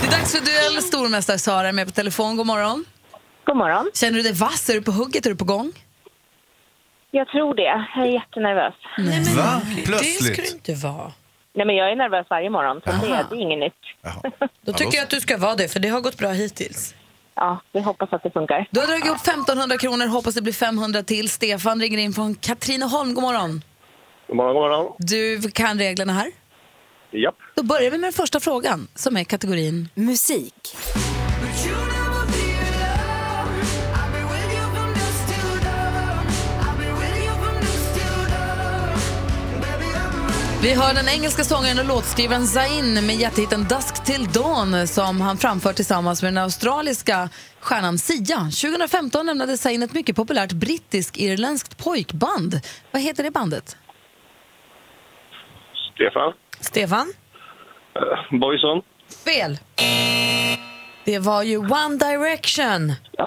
B: Det är dags för duell. Stormästare Sara är med på telefon. God morgon.
Q: God morgon.
B: Känner du dig vass? Är du på hugget? Är du på gång?
Q: Jag tror det. Jag är jättenervös.
B: Nej, men,
C: Va?
D: Det ska
C: Plötsligt?
D: du inte vara.
Q: Nej, men jag är nervös varje morgon, så det,
D: Jaha.
Q: det är inget nytt.
D: Då tycker jag att du ska vara det, för det har gått bra hittills.
Q: Ja, vi hoppas att det funkar.
B: Du har dragit upp 1500 kronor. Hoppas det blir 500 till. Stefan ringer in från Katrineholm. God morgon.
R: God morgon, god morgon.
B: Du kan reglerna här.
R: Japp.
B: Då börjar vi med den första frågan som är kategorin musik. Vi hör den engelska sångaren och låtskrivaren Zayn med jättehiten Dusk till Dawn som han framför tillsammans med den australiska stjärnan Sia. 2015 lämnade Zayn ett mycket populärt brittisk-irländskt pojkband. Vad heter det bandet?
R: Stefan?
D: Stefan?
R: Uh, Boyson?
D: Fel. Det var ju One Direction
R: Ah.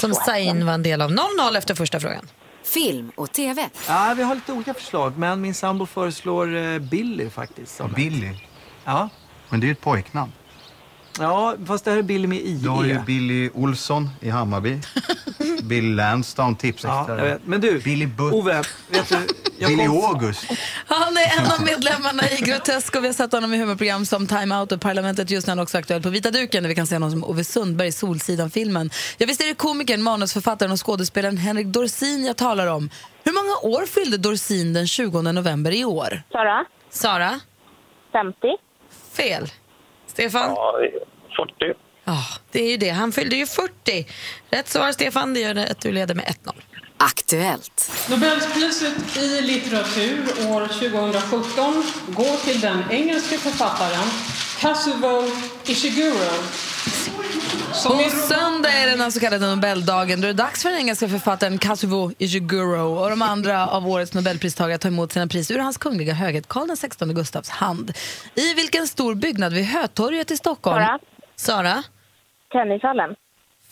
D: som Zayn var en del av. 0-0 efter första frågan.
O: Film och TV.
S: Ja, vi har lite olika förslag, men min sambo föreslår eh, Billy faktiskt. Som Billy? Ja.
I: Men det är ju ett pojknamn.
S: ja, fast det här är Billy med IE.
I: Du har ju Billy Olsson i Hammarby. Billy Lansdown,
S: Ja, jag
I: tipsextra.
S: vet. Men du, Billy Butt. Ove, vet du?
I: Billy
S: kom-
I: August.
B: Han är en av medlemmarna i Grotesk och vi har sett honom i humorprogram som Time Out och Parlamentet just nu är han också aktuell på Vita duken där vi kan se honom som Ove Sundberg i Solsidan-filmen. Jag visst är det komikern, manusförfattaren och skådespelaren Henrik Dorsin jag talar om. Hur många år fyllde Dorsin den 20 november i år?
Q: Sara?
D: Sara?
Q: 50.
D: Fel. Stefan?
R: Ja, 40.
D: Ja, det är ju det. Han fyllde ju 40. Rätt svar, Stefan. Det gör det att du leder med 1-0.
O: Aktuellt.
T: Nobelpriset i litteratur år 2017 går till den engelske författaren Kazuo Ishiguro
B: På söndag är det den så kallade Nobeldagen. Då är det dags för den engelska författaren Kazuo Ishiguro och de andra av årets Nobelpristagare att ta emot sina pris ur hans kungliga höghet Karl XVI Gustavs hand. I vilken stor byggnad vid Hötorget i Stockholm? Sara. Sara? Tennishallen.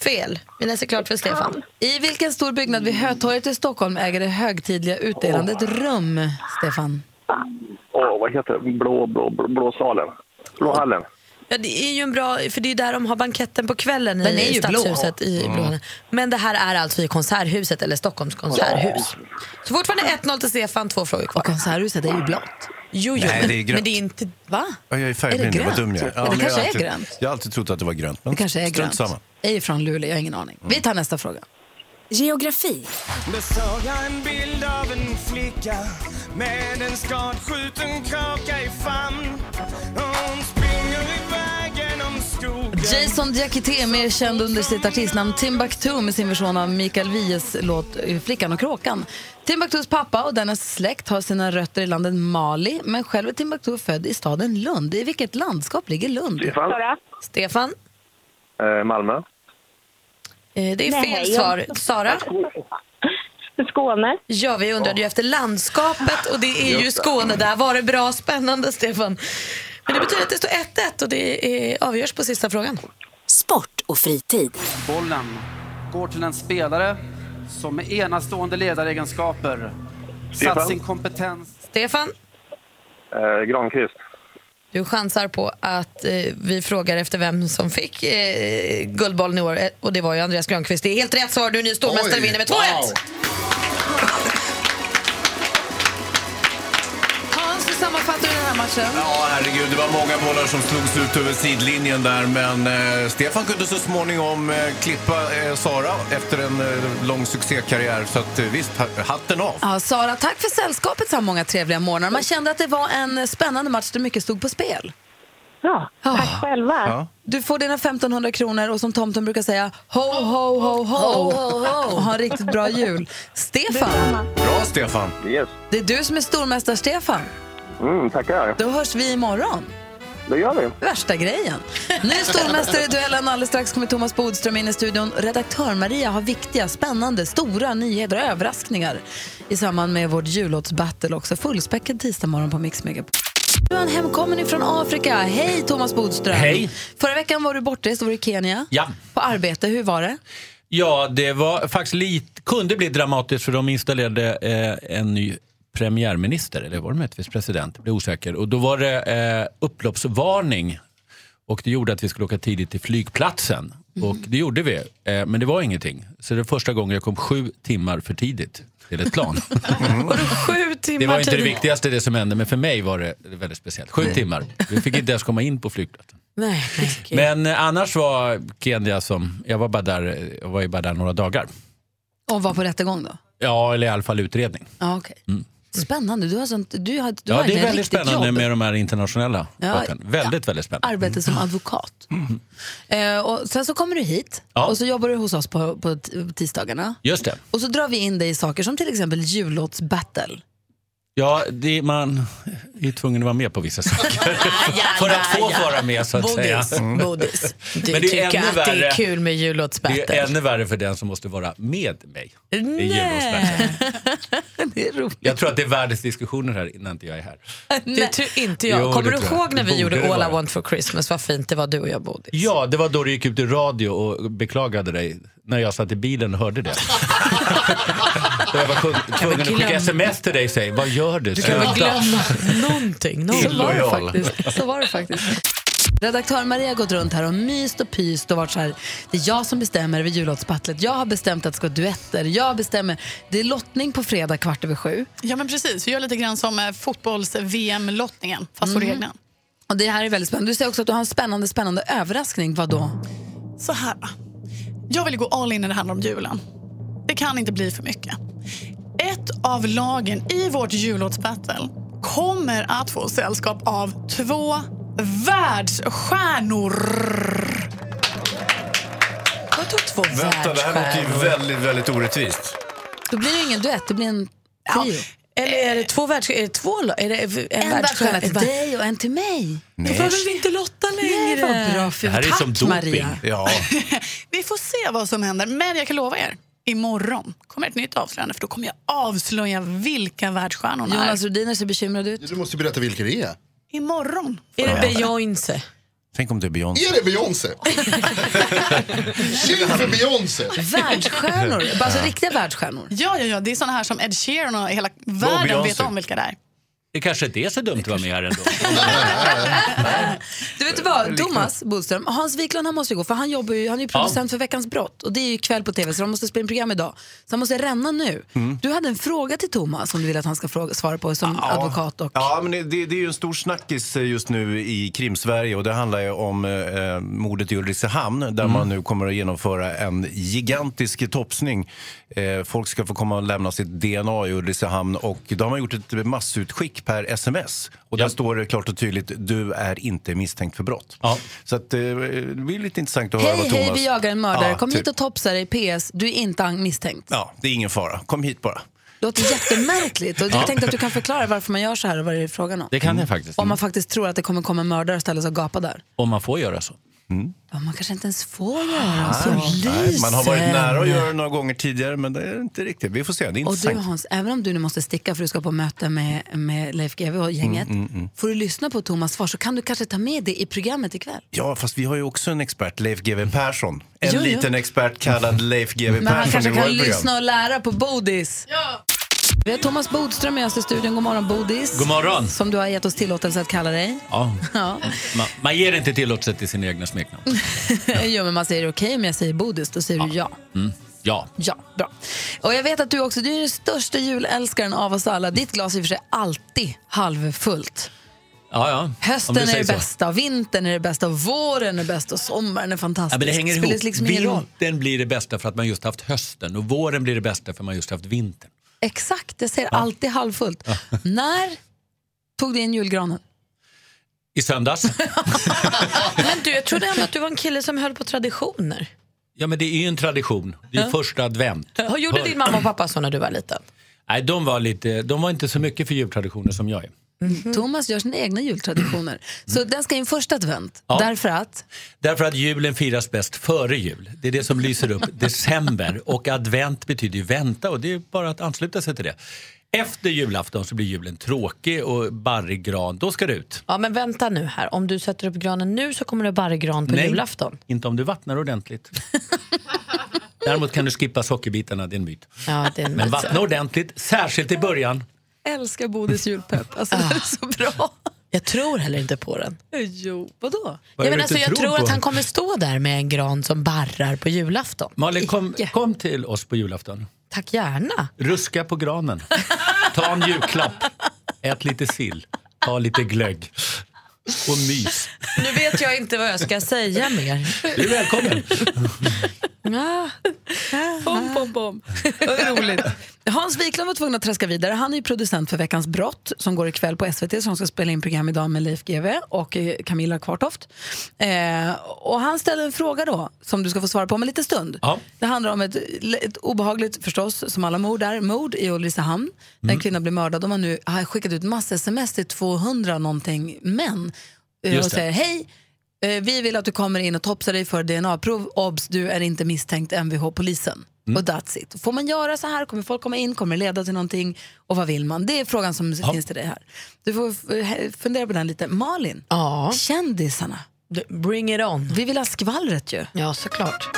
B: Fel. Vi läser klart för Stefan. I vilken stor byggnad vid Hötorget i Stockholm äger det högtidliga utdelandet rum, Stefan?
R: Åh, vad heter det? Blå, blå, blå, blåsalen. Blåhallen.
D: Ja, det är ju en bra, för det är ju där de har banketten på kvällen
B: Den är
D: i
B: ju blå.
D: Stadshuset. I
B: Mm.
D: blå. Men det här är alltså i Konserthuset, eller Stockholms konserthus. Så fortfarande 1-0 till Stefan, två frågor kvar. Och
B: konserthuset är ju blått.
D: Jo, jo,
C: Nej,
D: men-
C: det är grönt.
D: men det är inte... Va?
C: Ja, jag är
B: Är
C: färgblind,
B: det
C: vad
B: grönt?
C: dum jag är.
B: Ja, det
C: men jag
B: kanske
C: har
B: är
C: alltid,
B: grönt.
C: Jag har alltid trott att det var grönt. Men
B: Det kanske är
C: strunt
B: grönt.
C: samma.
B: Jag är ju från Luleå, jag har ingen aning. Vi tar nästa fråga.
O: Geografi.
P: Såg jag en bild av en flicka med en skadskjuten kraka i famn. Och hon springer iväg genom skogen.
B: Jason Diakité, mer känd under sitt artistnamn Timbuktu med sin version av Mikael Wiehes låt eh, Flickan och kråkan. Timbuktus pappa och dennes släkt har sina rötter i landet Mali men själv är Timbuktu född i staden Lund. I vilket landskap ligger Lund?
R: Stefan.
D: Stefan?
R: Eh, Malmö.
D: Eh, Det är
R: Nej,
D: fel
R: jag-
D: svar. Sara? Skåne. Ja, vi undrade ju efter landskapet och det är ju
R: Just det.
D: Skåne. Där var det bra spännande, Stefan. Men det betyder att det står 1-1 och det är, avgörs på sista frågan.
O: Sport och fritid.
U: Bollen går till en spelare som med enastående ledaregenskaper satt
R: Stefan.
U: sin kompetens...
D: Stefan,
R: Eh, Granqvist.
D: du chansar på att eh, vi frågar efter vem som fick eh, Guldbollen i år Eh, och det var ju Andreas Granqvist. Det är helt rätt svar. Du är ny stormästare
H: Oj,
D: och vinner med 2-1.
H: wow.
B: Hans, hur sammanfattar du den här matchen?
C: Ja, herregud, det var många bollar som slogs ut över sidlinjen där, men eh, Stefan kunde så småningom eh, klippa eh, Sara efter en eh, lång succékarriär, så att, eh, visst, ha- hatten av.
B: Ja, Sara, tack för sällskapet så här många trevliga morgnar. Man kände att det var en spännande match där mycket stod på spel. Ja, tack själva.
C: Ja.
B: Du får dina 1500 kronor och som tomten brukar säga, ho, ho, ho, ho.
D: Ho, ho, ho.
B: Och ha en riktigt bra jul. Stefan,
C: Bra, Stefan!
R: Yes.
B: det är du som är stormästar-Stefan.
R: Mm, tackar.
B: Då hörs vi imorgon.
R: Det gör vi.
B: Värsta grejen. Nu är stormästare i duellen. Alldeles strax kommer Thomas Bodström in i studion. Redaktör Maria har viktiga, spännande, stora nyheter och överraskningar i samband med vårt jullåtsbattle också. Fullspäckad tisdag morgon på Mix Megapol. Du är en hemkommen ifrån Afrika. Hej Thomas Bodström.
V: Hej.
B: Förra veckan var du bortrest och var i Kenya.
V: Ja. Mm.
B: På arbete, hur var det?
V: Ja, det var faktiskt lite, kunde bli dramatiskt för de installerade eh, en ny premiärminister, eller var det möjligtvis president? Jag blir osäker. Och då var det eh, upploppsvarning och det gjorde att vi skulle åka tidigt till flygplatsen. Och det gjorde vi, eh, men det var ingenting. Så det var första gången jag kom sju timmar för tidigt till ett plan.
D: Sju timmar
V: det var inte det
D: tidigare.
V: viktigaste det som hände, men för mig var det väldigt speciellt. Sju timmar. Vi fick inte ens komma in på flygplatsen.
D: Nej, nej.
V: Men eh, annars var Kenya som, jag var bara där, eh, jag var ju bara där några dagar.
B: Och var på rättegång då?
V: Ja, eller i alla fall utredning.
B: Ja, okej.
V: Mm.
B: Spännande. Du har, sånt, du har, du
V: Ja,
B: har
V: det är
B: ett
V: väldigt
B: riktigt
V: spännande
B: jobb.
V: med de här internationella
B: Ja,
V: vapen. Väldigt, väldigt spännande.
B: Arbete som advokat. Eh, och sen så kommer du hit
V: Ja.
B: och så jobbar du hos oss på, på t- tisdagarna.
V: Just det.
B: Och så drar vi in dig i saker som till exempel jullåtsbattle.
V: Ja, det, man är tvungen att vara med på vissa saker. För att få vara med så att
D: Bodis,
V: säga. Mm.
D: bodis. Du
V: Men det är
D: tycker
V: ännu
D: att det
V: värre.
D: är kul med
V: Det
D: jullåtsbattle.
V: är ännu värre för den som måste vara med mig. i
D: Nej.
V: jullåtsbattle.
B: det är roligt.
V: Jag tror att det är världens diskussioner här innan inte jag är här.
D: Det tror inte jag.
V: Jo, det
D: Kommer du
V: tror jag.
D: ihåg när
V: Det
D: vi
V: borde
D: gjorde
V: det
D: All I
V: vara.
D: want for Christmas? Vad fint det var du och jag, Bodil.
V: Ja, det var då du gick ut i radio och beklagade dig när jag satt i bilen och hörde det. Och jag var kung- tvungen att skicka
D: glömma.
V: sms till dig och säga, vad gör du?
D: Du kan
V: Sluta."
D: väl glömma någonting. någonting.
V: Så var det Illojal.
B: faktiskt. Så var det faktiskt. Redaktör Maria har gått runt här och myst och pyst och varit så här, det är jag som bestämmer över jullåtsbattlet. Jag har bestämt att det ska vara duetter. Jag bestämmer. Det är lottning på fredag kvart över sju.
W: Ja, men precis. Vi gör lite grann som eh, fotbolls-VM-lottningen, fast på
B: Mm.
W: reglerna.
B: Och det här är väldigt spännande. Du säger också att du har en spännande, spännande överraskning. Vad då?
W: Så här. Jag vill gå all in när det handlar om julen. Det kan inte bli för mycket. Ett av lagen i vårt jullåtsbattle kommer att få sällskap av två världsstjärnor.
D: Vadå två
C: Vänta, det här låter ju väldigt, väldigt orättvist.
B: Då blir det ingen duett, det blir en trio.
D: Eller är det två världs... Är det två... lo- Är det en,
B: En
D: världsstjärna
B: världsstjärna till dig och en till mig.
D: Då behöver vi inte lotta längre.
B: det var bra
V: Det här är som doping. Ja.
W: Vi får se vad som händer, men jag kan lova er. Imorgon kommer ett nytt avslöjande för då kommer jag avslöja vilka världsstjärnorna
B: Jonas
W: är.
B: Rhodiner ser bekymrad ut.
H: Du måste berätta vilka det är.
W: Imorgon.
H: Är det
B: Beyoncé?
C: Tänk om det är Beyoncé.
H: Är det Beyoncé? Tjing för Beyoncé!
B: Världsstjärnor? Bara Alltså
W: Ja.
B: riktiga världsstjärnor?
W: Ja, ja, ja, det är såna här som Ed Sheeran och hela världen
V: Beyoncé.
W: vet om vilka det är.
V: Det kanske inte är så dumt att vara med här ändå.
B: Du vet vad, Thomas Bodström, Hans Wiklund han måste ju gå för han jobbar ju, han är ju producent för Veckans brott och det är ju kväll på TV så de måste spela in program idag. Så han måste ränna nu. Mm. Du hade en fråga till Thomas som du vill att han ska fråga, svara på som advokat och
C: Ja, men det, det det är ju en stor snackis eh, just nu i Krimsverige och det handlar ju om eh, mordet i Ulricehamn där
B: Mm.
C: man nu kommer att genomföra en gigantisk topsning. Eh, folk ska få komma och lämna sitt DNA i Ulricehamn och då har man gjort ett massutskick per sms och där står det klart och tydligt du är inte misstänkt för brott. Så att, eh, det blir lite intressant att höra
B: Hej,
C: vad Thomas...
B: hej, vi jagar en mördare.
C: Ja,
B: Kom
C: typ.
B: hit och topsa dig. PS, du är inte misstänkt.
C: Ja, det är ingen fara. Kom hit bara.
B: Det låter jättemärkligt. Och
C: Ja.
B: jag tänkte att du kan förklara varför man gör så här och vad det är frågan om.
V: Det kan jag faktiskt.
B: Om man faktiskt tror att det kommer komma en mördare och ställa sig och gapa där.
V: Om man får göra så.
B: Ja, man kanske inte ens får göra så.
C: Ah, Nej, man har varit
B: Lysen.
C: nära att göra det några gånger tidigare men det är inte riktigt. Vi får se, det är
B: Och du
C: intressant.
B: Hans, även om du nu måste sticka för du ska på möte med, med Leif GW och gänget.
C: Mm, mm, mm.
B: Får du lyssna på Thomas svar så kan du kanske ta med det i programmet ikväll.
C: Ja, fast vi har ju också en expert, Leif GW Persson. En
B: Jo, jo.
C: liten expert kallad Leif GW Persson
B: Men han kanske
C: i vårt
B: kan
C: program.
B: lyssna och lära på Bodis. Vi har Thomas Bodström med oss i studion. God morgon Bodis.
V: God morgon.
B: Som du har gett oss tillåtelse att kalla dig.
V: Ja.
B: Ja.
V: Man, man ger inte tillåtelse till sina egna smeknamn.
B: jo, men man säger okej om jag säger Bodis, då säger du ja.
V: Mm. Ja.
B: Ja, bra. Och jag vet att du också, du är den största julälskaren av oss alla. Ditt glas är i och för sig alltid halvfullt.
V: Ja, ja. Om
B: Hösten
V: du
B: är
V: säger
B: det
V: så.
B: bästa, vintern är det bästa, våren är det bästa och sommaren är
V: Ja,
B: fantastisk.
V: men det hänger
B: spelar
V: ihop.
B: liksom ingen roll.
V: Vintern blir det bästa för att man just haft hösten och våren blir det bästa för att man just haft vintern.
B: Exakt, jag säger alltid halvfullt. När tog du in julgranen?
V: I söndags?
D: Men du, jag trodde ändå att du var en kille som höll på traditioner.
V: Ja, men det är ju en tradition. Det är
D: Ja.
V: första advent.
D: Hur gjorde
V: Hör-
D: din mamma och pappa så när du var liten?
V: Nej, de var, lite, de var inte så mycket för jultraditioner som jag är.
B: Thomas gör sina egna jultraditioner. Så den ska in första advent.
V: Ja.
B: Därför att,
V: Därför att julen firas bäst före jul. Det är det som lyser upp december. Och advent betyder ju vänta och det är bara att ansluta sig till det. Efter julafton så blir julen tråkig och barrig gran, då ska det ut.
D: Ja, men vänta nu här. Om du sätter upp granen nu så kommer det bara gran på
V: Nej.
D: julafton.
V: Inte om du vattnar ordentligt. Däremot kan du skippa sockerbitarna, det är en myt.
D: Ja, det är en
V: Men
D: myt.
V: vattna ordentligt, särskilt i början.
B: älskar Bodis julpepp. Alltså, den är så bra.
D: Jag tror heller inte på den.
B: Eh, Jo, vadå?
V: Vad
D: Ja,
V: är
D: men
V: det
D: alltså,
V: du
D: jag
V: tror
D: tror
V: på?
D: att han kommer stå där med en gran som barrar på julafton.
V: Malin, kom, kom till oss på julafton.
D: Tack gärna.
V: Ruska på granen. Ta en julklapp. Ät lite sill. Ta lite glögg. Och mys.
D: Nu vet jag inte vad jag ska säga mer.
V: Du är välkommen.
B: Bom, bom, bom. Vad roligt. Hans Wiklund var tvungen att träska vidare. Han är ju producent för Veckans brott som går ikväll på SVT som ska spela in program idag med Leif GW och eh, Camilla Kvartoft. Eh, och han ställer en fråga då som du ska få svara på om en liten stund.
V: Ja.
B: Det handlar om ett, ett obehagligt, förstås, som alla mord är, mord i Ulricehamn. Där en
V: Mm.
B: kvinna blir mördad. De har nu har skickat ut massa sms till 200 någonting män eh,
V: Just
B: och
V: det.
B: säger hej, Eh, Vi vill att du kommer in och topsar dig för DNA-prov. Obs, du är inte misstänkt MVH-polisen.
V: Mm.
B: Och that's it. Får man göra så här? Kommer folk komma in? Kommer det leda till någonting? Och vad vill man? Det är frågan som finns till dig här. Du får eh, he- fundera på den lite. Malin, kändisarna.
D: Bring it on.
B: Vi vill ha skvallret ju.
D: Ja, såklart.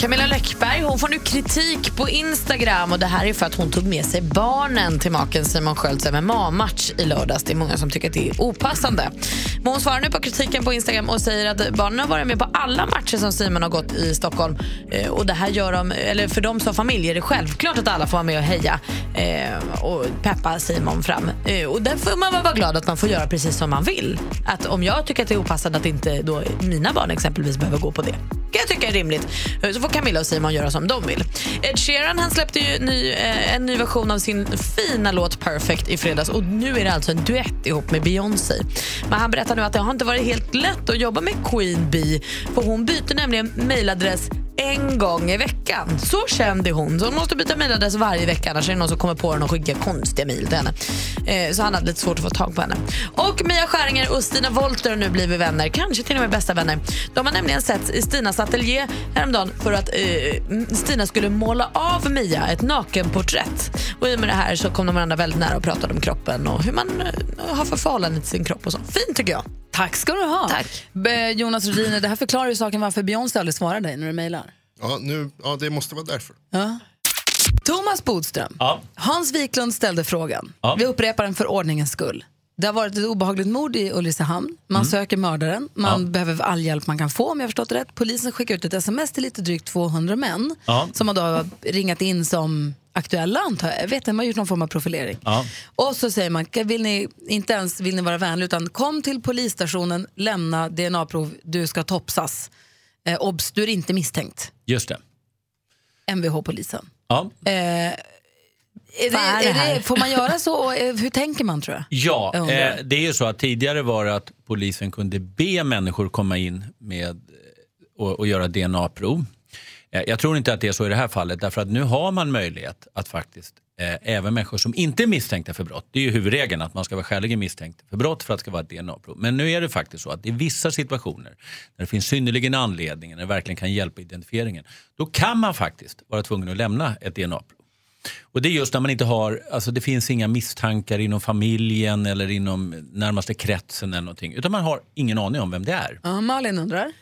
D: Camilla Läckberg hon får nu kritik på Instagram och det här är för att hon tog med sig barnen till maken Simon Skölds MMA-match i lördags. Det är många som tycker att det är opassande. Men hon svarar nu på kritiken på Instagram och säger att barnen har varit med på alla matcher som Simon har gått i Stockholm Eh, och det här gör de, eller för dem som familj är det självklart att alla får vara med och heja eh, och peppa Simon fram. Eh, och där får man väl vara glad att man får göra precis som man vill. Att om jag tycker att det är opassande att inte då mina barn exempelvis behöver gå på det kan jag tycka är rimligt. Eh, Så får Camilla och Simon göra som de vill. Ed Sheeran han släppte ju ny, eh, en ny version av sin fina låt Perfect i fredags och nu är det alltså en duett ihop med Beyoncé. Men han berättar nu att det har inte varit helt lätt att jobba med Queen Bee för hon byter nämligen mejladress en gång i veckan. Så kände hon. Så hon måste byta mailadress varje vecka annars är det någon som kommer på den och skickar konstiga mejl till henne. Eh, så han hade lite svårt att få tag på henne. Och Mia Skäringer och Stina Wolter har nu blivit vänner. Kanske till och med bästa vänner. De har nämligen sett i Stinas ateljé häromdagen för att eh, Stina skulle måla av Mia ett nakenporträtt. Och i och med det här så kom de varandra väldigt nära och pratade om kroppen och hur man eh, har för förhållande till sin kropp och så. Fint tycker jag.
B: Tack ska du ha. Tack. Jonas Rhodiner, det här förklarar ju saken varför Beyoncé aldrig svarar dig när du mejlar.
H: Ja, nu, ja, det måste vara därför.
B: Ja. Thomas Bodström,
V: Ja.
B: Hans Wiklund ställde frågan.
V: Ja.
B: Vi upprepar den för ordningens skull. Det har varit ett obehagligt mord i Ulricehamn. Man
V: Mm.
B: söker mördaren. Man behöver all hjälp man kan få om jag har förstått det rätt. Polisen skickar ut ett sms till lite drygt 200 män
V: Ja.
B: som man då har ringat in som aktuella antar jag. jag. vet inte, man har gjort någon form av profilering.
V: Ja.
B: Och så säger man, vill ni, inte ens vill ni vara vänlig utan kom till polisstationen, lämna DNA-prov, du ska topsas. Eh, obs, du är inte misstänkt.
V: Just det.
B: Mvh-polisen.
V: Ja.
B: Eh, är det,
D: Vad är det
B: är
D: här?
B: det, får man göra så? Och, eh, hur tänker man tror jag?
V: Ja,
B: Jag undrar.
V: eh, det är ju så att tidigare var det att polisen kunde be människor komma in med, eh, och, och göra DNA-prov. Eh, jag tror inte att det är så i det här fallet därför att nu har man möjlighet att faktiskt eh, även människor som inte är misstänkta för brott, det är ju huvudregeln att man ska vara skäligen misstänkt för brott för att det ska vara ett DNA-prov. Men nu är det faktiskt så att i vissa situationer när det finns synnerligen anledning, när det verkligen kan hjälpa identifieringen, då kan man faktiskt vara tvungen att lämna ett DNA-prov. Och det är just när man inte har, alltså det finns inga misstankar inom familjen eller inom närmaste kretsen eller någonting. Utan man har ingen aning om vem det är.
B: Ja, Malin undrar.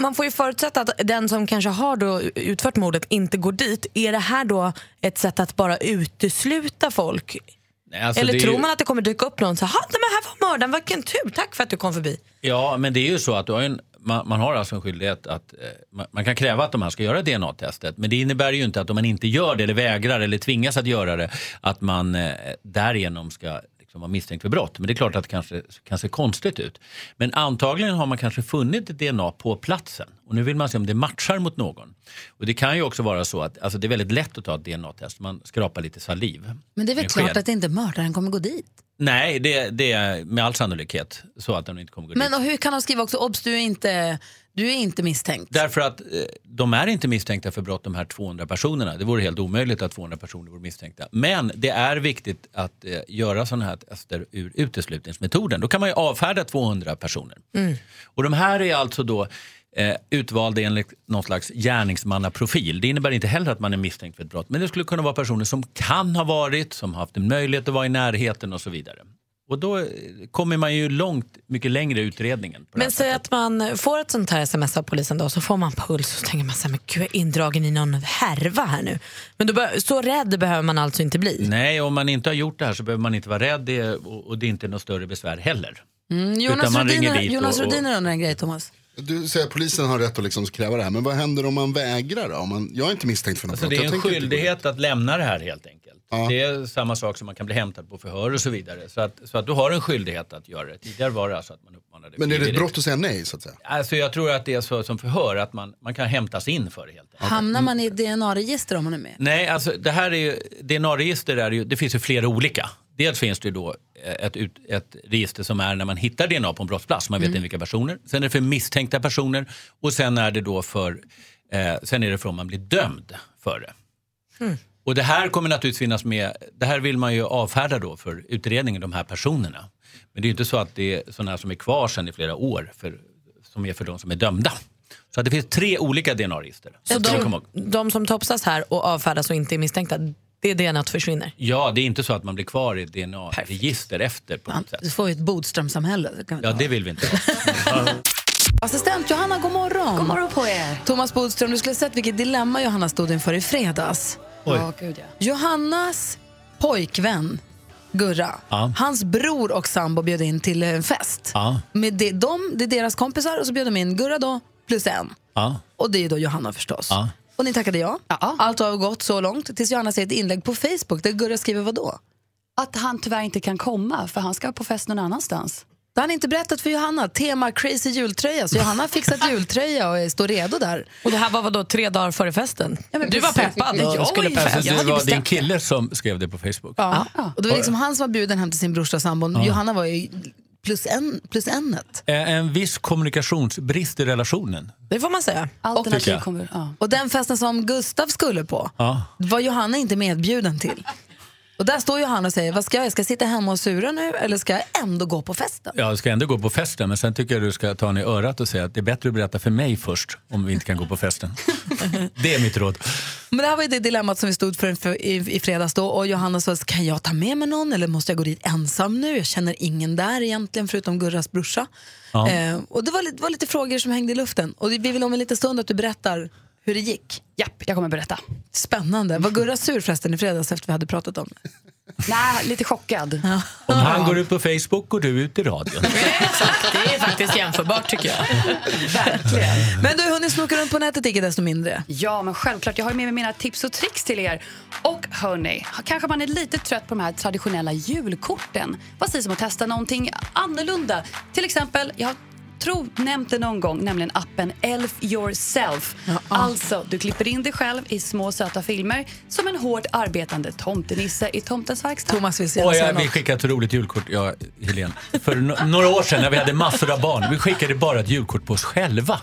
D: Man får ju förutsätta att den som kanske har då utfört mordet inte går dit. Är det här då ett sätt att bara utesluta folk?
V: Nej, alltså
D: Eller
V: det är
D: tror
V: ju-
D: man att det kommer dyka upp någon så här, nej men här var mördaren, vilken tur, tack för att du kom förbi.
V: Ja, men det är ju så att du har ju en, man, man har alltså en skyldighet att eh, man, man kan kräva att de här ska göra DNA-testet. Men det innebär ju inte att om man inte gör det eller vägrar eller tvingas att göra det att man eh, därigenom ska liksom, vara misstänkt för brott. Men det är klart att det kanske kan se konstigt ut. Men antagligen har man kanske funnit ett DNA på platsen och nu vill man se om det matchar mot någon. Och det kan ju också vara så att alltså, det är väldigt lätt att ta ett DNA-test. Man skrapar lite saliv.
B: Men det är väl
V: En
B: klart
V: sked.
B: att inte mördaren kommer gå dit.
V: Nej, det, det är med all sannolikhet så att den inte kommer gå dit.
B: Men och hur kan de skriva också, obs du är inte, du är inte misstänkt.
V: Därför att eh, de är inte misstänkta för brott de här 200 personerna. Det vore helt omöjligt att 200 personer vore misstänkta. Men det är viktigt att eh, göra sådana här tester ur uteslutningsmetoden. Då kan man ju avfärda 200 personer. Och de här är alltså då eh, utvalda enligt någon slags gärningsmannaprofil. Det innebär inte heller att man är misstänkt för ett brott. Men det skulle kunna vara personer som kan ha varit, som har haft en möjlighet att vara i närheten och så vidare. Och då eh, kommer man ju långt mycket längre i utredningen.
D: Men säg att man får ett sånt här sms av polisen då, så får man puls och så tänker man så här, men gud jag är indragen i någon härva här nu. Men då bör, så rädd behöver man alltså inte bli.
V: Nej, om man inte har gjort det här så behöver man inte vara rädd det, är- och, och det är inte något större besvär heller.
B: Mm,
V: Utan
B: Jonas
V: man ringer
B: Rhodiner
V: dit
B: Jonas
V: och- och-
B: Rhodiner undrar en grej Thomas.
H: Du säger att polisen har rätt att liksom kräva det här, men vad händer om man vägrar då? Om man, jag är inte misstänkt för något
V: Alltså,
H: brott.
V: det är
H: jag
V: en
H: tänker inte-
V: skyldighet att lämna det här helt enkelt. Det är samma sak som man kan bli hämtad på förhör och så vidare. Så att, så att du har en skyldighet att göra det. Tidigare var det alltså att man uppmanade
H: Men är det ett
V: frivilligt.
H: brott att säga nej så att säga?
V: Alltså jag tror att det är så som förhör, att man, man kan hämtas in för det helt enkelt.
B: Hamnar man i ett DNA-register om man är med?
V: Nej, alltså det här är ju, DNA-register är ju, det finns ju flera olika. Dels finns det ju då eh, ett, ut- ett register som är när man hittar DNA på en brottsplats, man vet
X: Mm.
V: inte vilka personer. Sen är det för misstänkta personer och sen är det då för, eh, sen är det för om man blir dömd för det.
D: Hmm.
X: Mm.
V: Och det här kommer naturligtvis finnas med, det här vill man ju avfärda då för utredningen, de här personerna. Men det är ju inte så att det är sådana här som är kvar sen i flera år, för, som är för de som är dömda. Så att det finns tre olika DNA-register.
D: Så
V: Det ska man komma
D: de,
V: ihåg.
D: de som topsas här och avfärdas och inte är misstänkta, det är det att försvinner.
V: Ja, det är inte så att man blir kvar i ett DNA-register efter på något sätt.
B: Du får ju ett Bodströmsamhälle. Det kan vi
V: Ja, det vill vi inte ha.
B: Assistent Johanna, god morgon. God morgon på er. Thomas Bodström, du skulle ha sett vilket dilemma Johanna stod inför i fredags.
V: Oj.
B: Johannas pojkvän Gurra,
V: Ja.
B: hans bror och sambo bjöd in till en fest.
V: Ja.
B: Med de, de, det är deras kompisar och så bjöd de in Gurra då, plus en.
V: Ja.
B: Och det är ju då Johanna förstås.
V: Ja.
B: Och ni tackade ja. Allt har gått så långt tills Johanna ser ett inlägg på Facebook där Gurra skriver vad då?
A: Att han tyvärr inte kan komma för han ska på fest någon annanstans.
B: Det har han inte berättat för Johanna. Tema crazy jultröja. Så Johanna har fixat jultröja och är- står redo där.
D: Och det här var då tre dagar före festen? du var
B: precis.
D: peppad.
B: Ja, jag skulle
V: alltså,
B: jag
V: det
B: hade
V: var din
B: bestämt
V: kille som skrev det på Facebook?
B: Ja. Och det var liksom han som var bjuden hem till sin brorsa och sambon.
V: Ja.
B: Johanna var ju plus, en, plus enet.
V: Eh, En viss kommunikationsbrist i relationen.
B: Det får man säga.
V: Tycker jag.
B: Och den festen som Gustav skulle på
V: Ja.
B: var Johanna inte medbjuden till. Och där står Johanna och säger, vad ska jag, ska jag sitta hemma och sura nu eller ska jag ändå gå på festen?
V: Ja, jag ska ändå gå på festen, men sen tycker jag du ska ta henne i örat och säga att det är bättre att berätta för mig först om vi inte kan gå på festen. Det är mitt råd.
B: Men det här var ju det dilemmat som vi stod för inför- i, i fredags då och Johanna sa, kan jag ta med mig någon eller måste jag gå dit ensam nu? Jag känner ingen där egentligen förutom Gurras brorsa.
V: Ja.
B: Eh, och det var, lite- var lite frågor som hängde i luften och vi vill om en liten stund att du berättar hur det gick.
A: Japp, jag kommer berätta.
B: Spännande. Var Gurra sur förresten i fredags efter vi hade pratat om det?
A: Nej, lite chockad.
V: Om han går ut på Facebook och du ut i radion.
D: Det är faktiskt jämförbart tycker jag.
B: Men du har hunnit snoka runt på nätet icke desto mindre.
A: Ja, men självklart. Jag har ju med mig mina tips och tricks till er. Och hörni, kanske man är lite trött på de här traditionella julkorten. Vad sägs om att testa någonting annorlunda? Till exempel, jag tror nämnt det någon gång, nämligen appen Elf yourself. Alltså, du klipper in dig själv i små söta filmer som en hårt arbetande tomtenisse i tomtens verkstad.
B: Thomas vill
V: Och jag, vi skickade ett roligt julkort, jag Helene, för no- några år sedan när vi hade massor av barn. Vi skickade bara ett julkort på oss själva.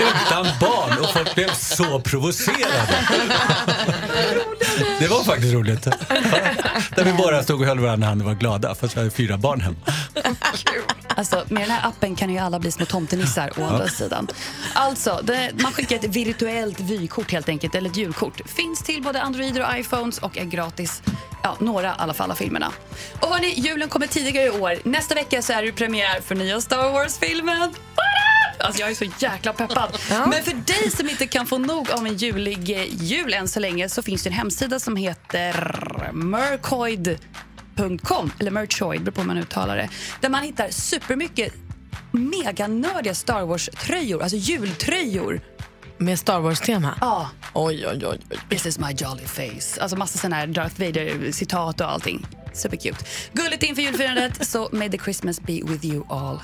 V: Utan barn och folk blev så provocerade. Det var faktiskt roligt. Där vi bara stod och höll varandra i handen och var glada fast vi hade fyra barn hemma.
A: Alltså, med den här appen kan ju alla bli små tomtenissar å andra sidan. Alltså, det, man skickar ett virtuellt vykort helt enkelt, eller ett julkort. Finns till både Androider och iPhones och är gratis. Ja, några i alla fall av filmerna. Och hörni, julen kommer tidigare i år. Nästa vecka så är det premiär för nya Star Wars-filmen. What up? Alltså jag är så jäkla peppad. Men för dig som inte kan få nog av en julig eh, jul än så länge så finns det en hemsida som heter mercoid.com eller merchoid, beror på hur man uttalar det. Där man hittar supermycket meganördiga Star Wars-tröjor, alltså jultröjor.
D: Med Star Wars-tema?
A: Ja.
D: Oj, oj, oj. oj.
A: This is my jolly face. Alltså massa såna här Darth Vader-citat och allting. Supercute. Gulligt inför julfirandet, så may the Christmas be with you all.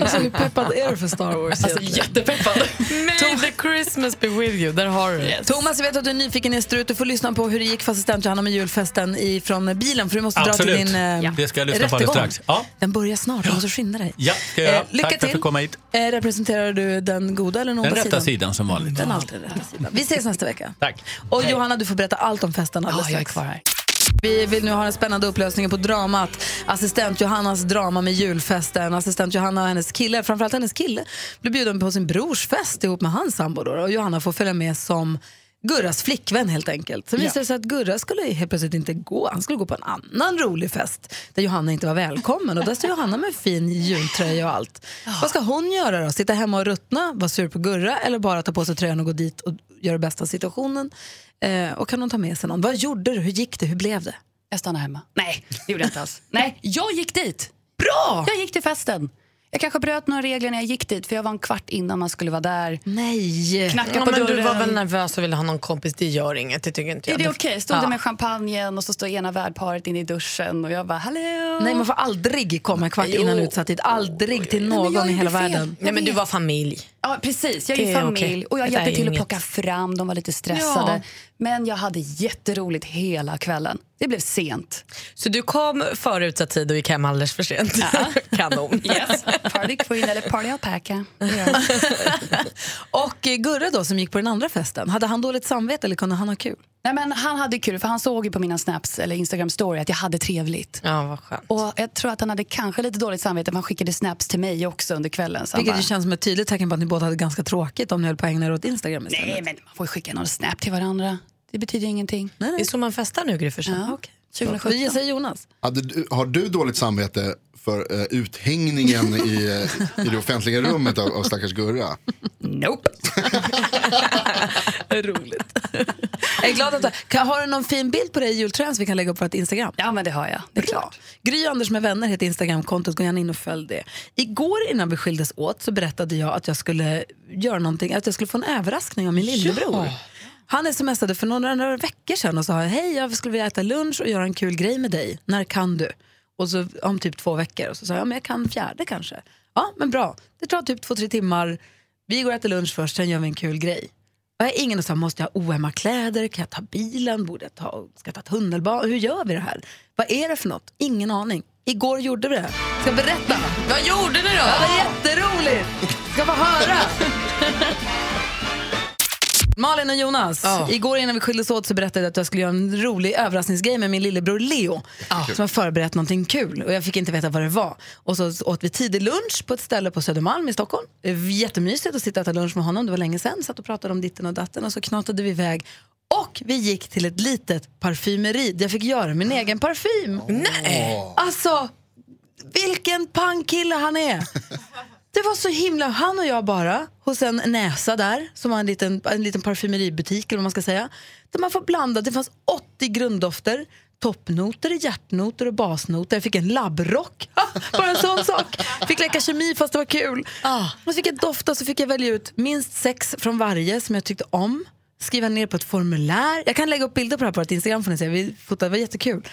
D: Alltså, hur peppad är du för Star Wars?
A: Alltså, jättepeppad.
D: May the Christmas be with you. Där har du det.
B: Thomas, jag vet att du är nyfiken i en strut. Du får lyssna på hur det gick för assistent Johanna med julfesten ifrån bilen för du måste dra till din eh,
V: det ska jag lyssna på alldeles
B: rättegång.
V: strax. Ja,
B: Den börjar snart, du måste skynda dig.
V: ja ska jag göra.
B: Eh, lycka
V: Tack för att
B: till.
V: du kom hit.
B: Eh, representerar du den goda eller den
V: Den
B: onda
V: rätta
B: sidan?
V: sidan som vanligt.
B: Den alltid rätta sidan. Vi ses nästa vecka.
V: Tack.
B: Och Johanna, du får berätta allt om festen alldeles
A: Ja, jag är
B: strax. Vi vill nu ha den spännande upplösningen på dramat. Assistent Johannas drama med julfesten. Assistent Johanna och hennes kille, framförallt hennes kille, blir bjuden på sin brors fest ihop med hans sambo. Då, och Johanna får följa med som Gurras flickvän helt enkelt. Sen visade det sig att Gurra skulle helt plötsligt inte gå. Han skulle gå på en annan rolig fest där Johanna inte var välkommen. Och där står Johanna med en fin jultröja och allt. Vad ska hon göra då? Sitta hemma och ruttna, vara sur på Gurra eller bara ta på sig tröjan och gå dit och göra det bästa av situationen? Eh, och kan hon ta med sig någon? Vad gjorde du? Hur gick det? Hur blev det?
A: Jag stannar hemma. Nej, det gjorde jag inte alls. Nej, jag gick dit.
B: Bra!
A: Jag gick till festen. Jag kanske bröt några regler när jag gick dit, för jag var en kvart innan man skulle vara där.
B: Nej!
A: Knacka
D: Ja,
A: på
D: men
A: dörren.
D: Du var väl nervös och ville ha någon kompis. Det gör inget. Det tycker inte
A: Är
D: jag.
A: det okej? Stod
D: ja.
A: det med champagnen och så står ena värdparet inne i duschen och jag bara hallå?
B: Nej, man får aldrig komma en kvart
A: Jo.
B: innan utsatt tid. Aldrig till
A: men
B: någon
A: jag
B: i hela
A: gjorde fel.
B: världen.
A: Nej, men du var
D: familj.
A: Ja, precis. Jag är
B: Det
A: ju
B: är
A: familj
B: okej.
A: och jag
B: Det där
A: hjälpte
B: är
A: till att
B: inget.
A: plocka fram. De var lite stressade.
D: Ja.
A: Men jag hade jätteroligt hela kvällen. Det blev sent.
D: Så du kom före utsatt tid och gick hem alldeles för sent. Kanon.
A: Yes. Party queen eller party alpaca.
B: Och eh, Gurra då, som gick på den andra festen, hade han dåligt samvete eller kunde han ha kul?
A: Nej, men han hade kul, för han såg ju på mina snaps eller Instagram story att jag hade trevligt.
D: Ja, vad skönt.
A: Och jag tror att han hade kanske lite dåligt samvete för han skickade snaps till mig också under kvällen. Så han
B: Vilket
A: bara,
B: ju känns som ett tydligt tecken på att ni båda hade ganska tråkigt om ni höll på att ägna er åt Instagram istället.
A: Nej, men man får ju skicka någon snap till varandra. Det betyder ingenting.
D: Det är så man festar nu, Gry Forssell.
A: Ja, okay. 2017.
B: Vi säger Jonas.
H: Hade du, har du dåligt samvete för eh, uthängningen i, eh, i det offentliga rummet av, av stackars Gurra?
A: Nope.
B: Jag är glad att du kan, Har du någon fin bild på dig i jultröjan som vi kan lägga upp på vårt Instagram?
A: Ja, men det har jag. Det är klart.
B: Gry och Anders med vänner heter Instagramkontot, gå gärna in och följ det. Igår innan vi skildes åt så berättade jag att jag skulle göra någonting, att jag skulle få en överraskning av min lillebror. Han smsade för några, några veckor sedan och sa hej jag skulle vilja äta lunch och göra en kul grej med dig, när kan du? Och så om typ två veckor och så sa jag men jag kan fjärde kanske. Ja men bra, det tar typ två tre timmar, vi går och äter lunch först sen gör vi en kul grej. Och jag har ingen och sa, måste jag ha oömma kläder? Kan jag ta bilen? Borde jag ta, ska jag ta tunnelbanan? Hur gör vi det här? Vad är det för något? Ingen aning. Igår gjorde vi det. Ska jag berätta?
D: Vad gjorde ni då?
B: Ja, det var jätteroligt! Ska få höra! Malin och Jonas, igår innan vi skildes åt så berättade jag att jag skulle göra en rolig överraskningsgrej med min lillebror Leo som har förberett någonting kul och jag fick inte veta vad det var. Och så åt vi tidig lunch på ett ställe på Södermalm i Stockholm. Det var Jättemysigt att sitta och äta lunch med honom, det var länge sedan. Satt och pratade om ditten och datten och så knatade vi iväg och vi gick till ett litet parfymeri där jag fick göra min egen parfym. Nej! Alltså, vilken pangkille han är! Det var så himla, han och jag bara, hos en näsa där, som har en liten, en liten parfymeributik eller vad man ska säga. Där man får blanda, det fanns 80 grunddofter, toppnoter, hjärtnoter och basnoter. Jag fick en labbrock, bara en sån sak. Fick leka kemi fast det var kul. Och så fick jag dofta så fick jag välja ut minst sex från varje som jag tyckte om. Skriva ner på ett formulär. Jag kan lägga upp bilder på det här på vårt Instagram får ni se. Vi fotade, det var jättekul.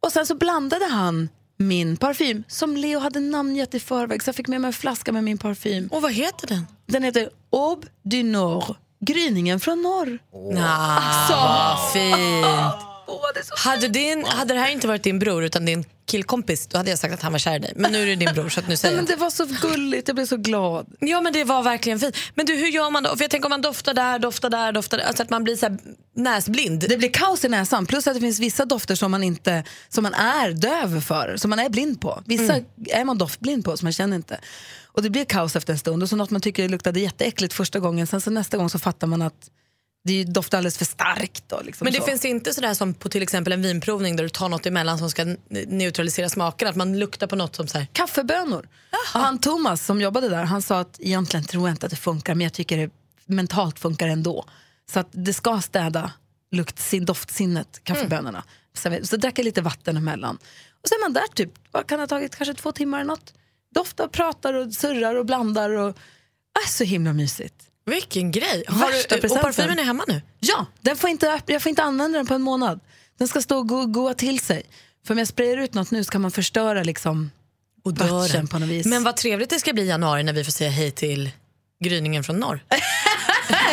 B: Och sen så blandade han min parfym som Leo hade namngett i förväg så jag fick med mig en flaska med min parfym. Och vad heter den? Den heter Aube du Nord, gryningen från norr.
D: Nah,
B: Alltså.
D: vad fint.
B: hade,
D: din, hade det här inte varit din bror utan din killkompis då hade jag sagt att han var kär i dig. Men nu är det din bror så att nu säger
B: Nej,
D: jag.
B: men det var så gulligt, jag blev så glad.
D: Ja men det var verkligen fint. Men du hur gör man då? För jag tänker om man doftar där, doftar där, doftar där. Alltså att man blir så här näsblind.
B: Det blir kaos i näsan, plus att det finns vissa dofter som man, inte, som man är döv för, som man är blind på. Vissa
D: Mm.
B: är man doftblind på, som man känner inte. Och det blir kaos efter en stund. Och så något man tycker luktade jätteäckligt första gången, sen så nästa gång så fattar man att det ju doftar alldeles för starkt. Då, liksom
D: Men det
B: så.
D: finns inte sådär som på till exempel en vinprovning där du tar något emellan som ska n- neutralisera smaken. Att man luktar på något som så här.
B: kaffebönor. Och han Thomas som jobbade där, han sa att egentligen tror jag inte att det funkar, men jag tycker det mentalt funkar ändå. Så att det ska städa lukt, sin, doftsinnet, kaffebönorna. Så, så drack jag lite vatten emellan. Och sen är man där typ, vad kan det ha tagit, kanske två timmar eller något. Doftar, pratar och surrar och blandar och är så himla mysigt.
D: Vilken grej! Har du- och parfymen är hemma nu?
B: Ja, den får inte, öpp- jag får inte använda den på en månad. Den ska stå och go- goa till sig. För om jag sprayar ut något nu så kan man förstöra liksom batchen på något vis.
D: Men vad trevligt det ska bli i januari när vi får säga hej till gryningen från norr.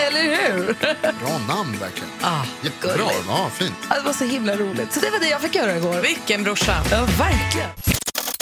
B: Eller hur?
H: Bra namn verkligen.
D: Ah,
H: Jättebra, ja, fint.
B: Ja, Det var så himla roligt. Så det var det jag fick göra igår.
D: Vilken brorsa!
B: Ja, verkligen.